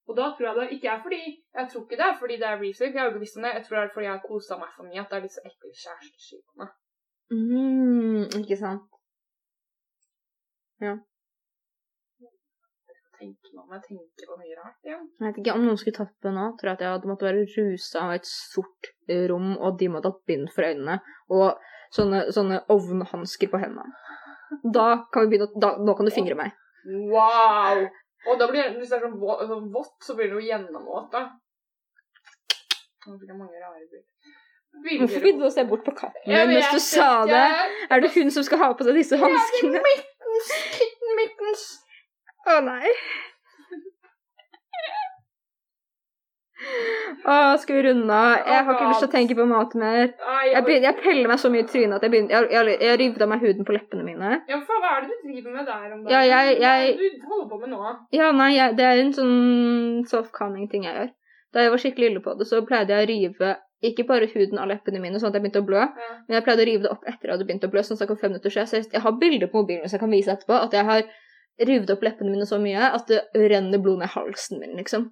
Speaker 2: Og da tror jeg det ikke er fordi Jeg tror ikke det er fordi det er research, jeg har jo ikke visst om det. Jeg tror det er fordi jeg har kosa meg for mye, at det er disse ekle kjæresteskivene.
Speaker 1: Mm, ikke sant?
Speaker 2: Tenker meg om jeg tenker på mye rart igjen.
Speaker 1: Jeg vet ikke om noen skulle tatt på nå, tror jeg at jeg hadde måttet være ruset av et sort rom, og de måtte ha hatt bind for øynene, og sånne, sånne ovnhansker på hendene. Da kan vi begynne, å- da, nå kan du fingre meg.
Speaker 2: Wow! Og da blir, hvis det er sånn vå- sånn vått, så blir det jo gjennomvått, da. Nå fikk jeg mange rare bilder.
Speaker 1: Hvorfor begynte du å se bort på katten
Speaker 2: Ja,
Speaker 1: min
Speaker 2: men
Speaker 1: mens
Speaker 2: jeg
Speaker 1: du sa
Speaker 2: tenkte-
Speaker 1: det? Er det hun som skal ha på seg disse hanskene?
Speaker 2: Mittens, kitten mittens.
Speaker 1: Å nei. Å, skal vi runde av? Jeg har ikke lyst til å tenke på mat mer.
Speaker 2: Nei,
Speaker 1: Jeg,
Speaker 2: jeg bare...
Speaker 1: begynner, jeg peller meg så mye i trynet at jeg begynner Jeg, jeg, jeg rivet av meg huden på leppene mine.
Speaker 2: Ja, faen, hva er det du driver med der om dagen?
Speaker 1: Ja, jeg- jeg-
Speaker 2: Hva er det du holder på med nå?
Speaker 1: Ja, nei, jeg, det er en sånn soft-calming ting jeg gjør. Da jeg var skikkelig ille på det, så pleide jeg å rive ikke bare huden av leppene mine, sånn at jeg begynte å blø,
Speaker 2: Ja.
Speaker 1: men jeg pleide å rive det opp etter at jeg hadde begynt å blø. sånn at det kom fem minutter siden. Så jeg, jeg har bilder på mobilen som jeg kan vise etterpå, at jeg har revet opp leppene mine så mye at det renner blod ned halsen min, liksom.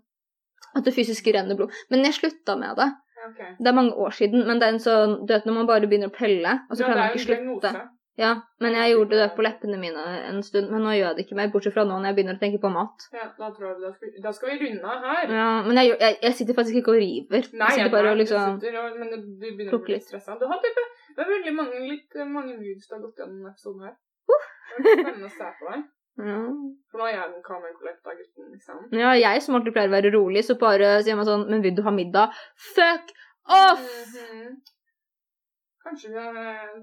Speaker 1: At det fysisk renner blod. Men jeg slutta med det.
Speaker 2: Ok.
Speaker 1: Det er mange år siden, men det er en sånn Du vet når man bare begynner å pelle, og så klarer
Speaker 2: Ja, det
Speaker 1: man
Speaker 2: er jo
Speaker 1: ikke å
Speaker 2: en
Speaker 1: slutte.
Speaker 2: diagnose.
Speaker 1: Ja, men jeg gjorde det på leppene mine en stund, men nå gjør jeg det ikke mer, bortsett fra nå når jeg begynner å tenke på mat.
Speaker 2: Ja, da tror jeg da skal, da skal vi runde av her.
Speaker 1: Ja, men jeg, gjør- jeg, jeg sitter faktisk ikke og river.
Speaker 2: Nei,
Speaker 1: Mm. jeg
Speaker 2: jeg
Speaker 1: sitter bare og
Speaker 2: du
Speaker 1: liksom
Speaker 2: sitter og, men du du begynner å
Speaker 1: plukker
Speaker 2: bli
Speaker 1: litt.
Speaker 2: stressa. Du har type, det er veldig mange, litt, mange moods du har gått gjennom denne episoden her. Det er litt spennende å se på deg.
Speaker 1: ja.
Speaker 2: For nå er jeg den calm and collected av gutten, liksom.
Speaker 1: ja, jeg som alltid pleier å være rolig, så bare sier man sånn Men vil du ha middag? Fuck off!
Speaker 2: Mhm. Kanskje vi har eh,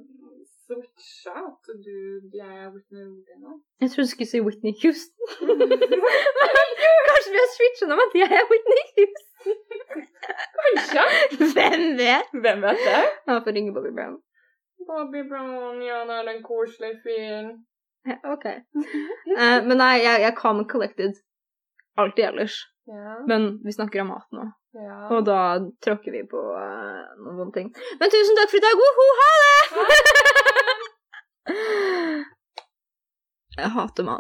Speaker 2: switcha at du, jeg er Whitney Rooney nå?
Speaker 1: Jeg trodde du skulle si Whitney Houston. Kanskje vi har switcha om at jeg er Whitney Houston?
Speaker 2: Kanskje!
Speaker 1: Hvem vet?
Speaker 2: Hvem vet det?
Speaker 1: Ja, for ringe Bobby Brown.
Speaker 2: Bobby Brown, ja, han er en koselig fyr.
Speaker 1: Ja, OK. Eh, men nei, jeg, jeg er calm and collected. Alltid ellers.
Speaker 2: Ja.
Speaker 1: Men vi snakker om mat nå,
Speaker 2: ja.
Speaker 1: og da tråkker vi på eh, noen vonde ting. Men tusen takk for i dag! Woho! Ha det! Jeg hater mat.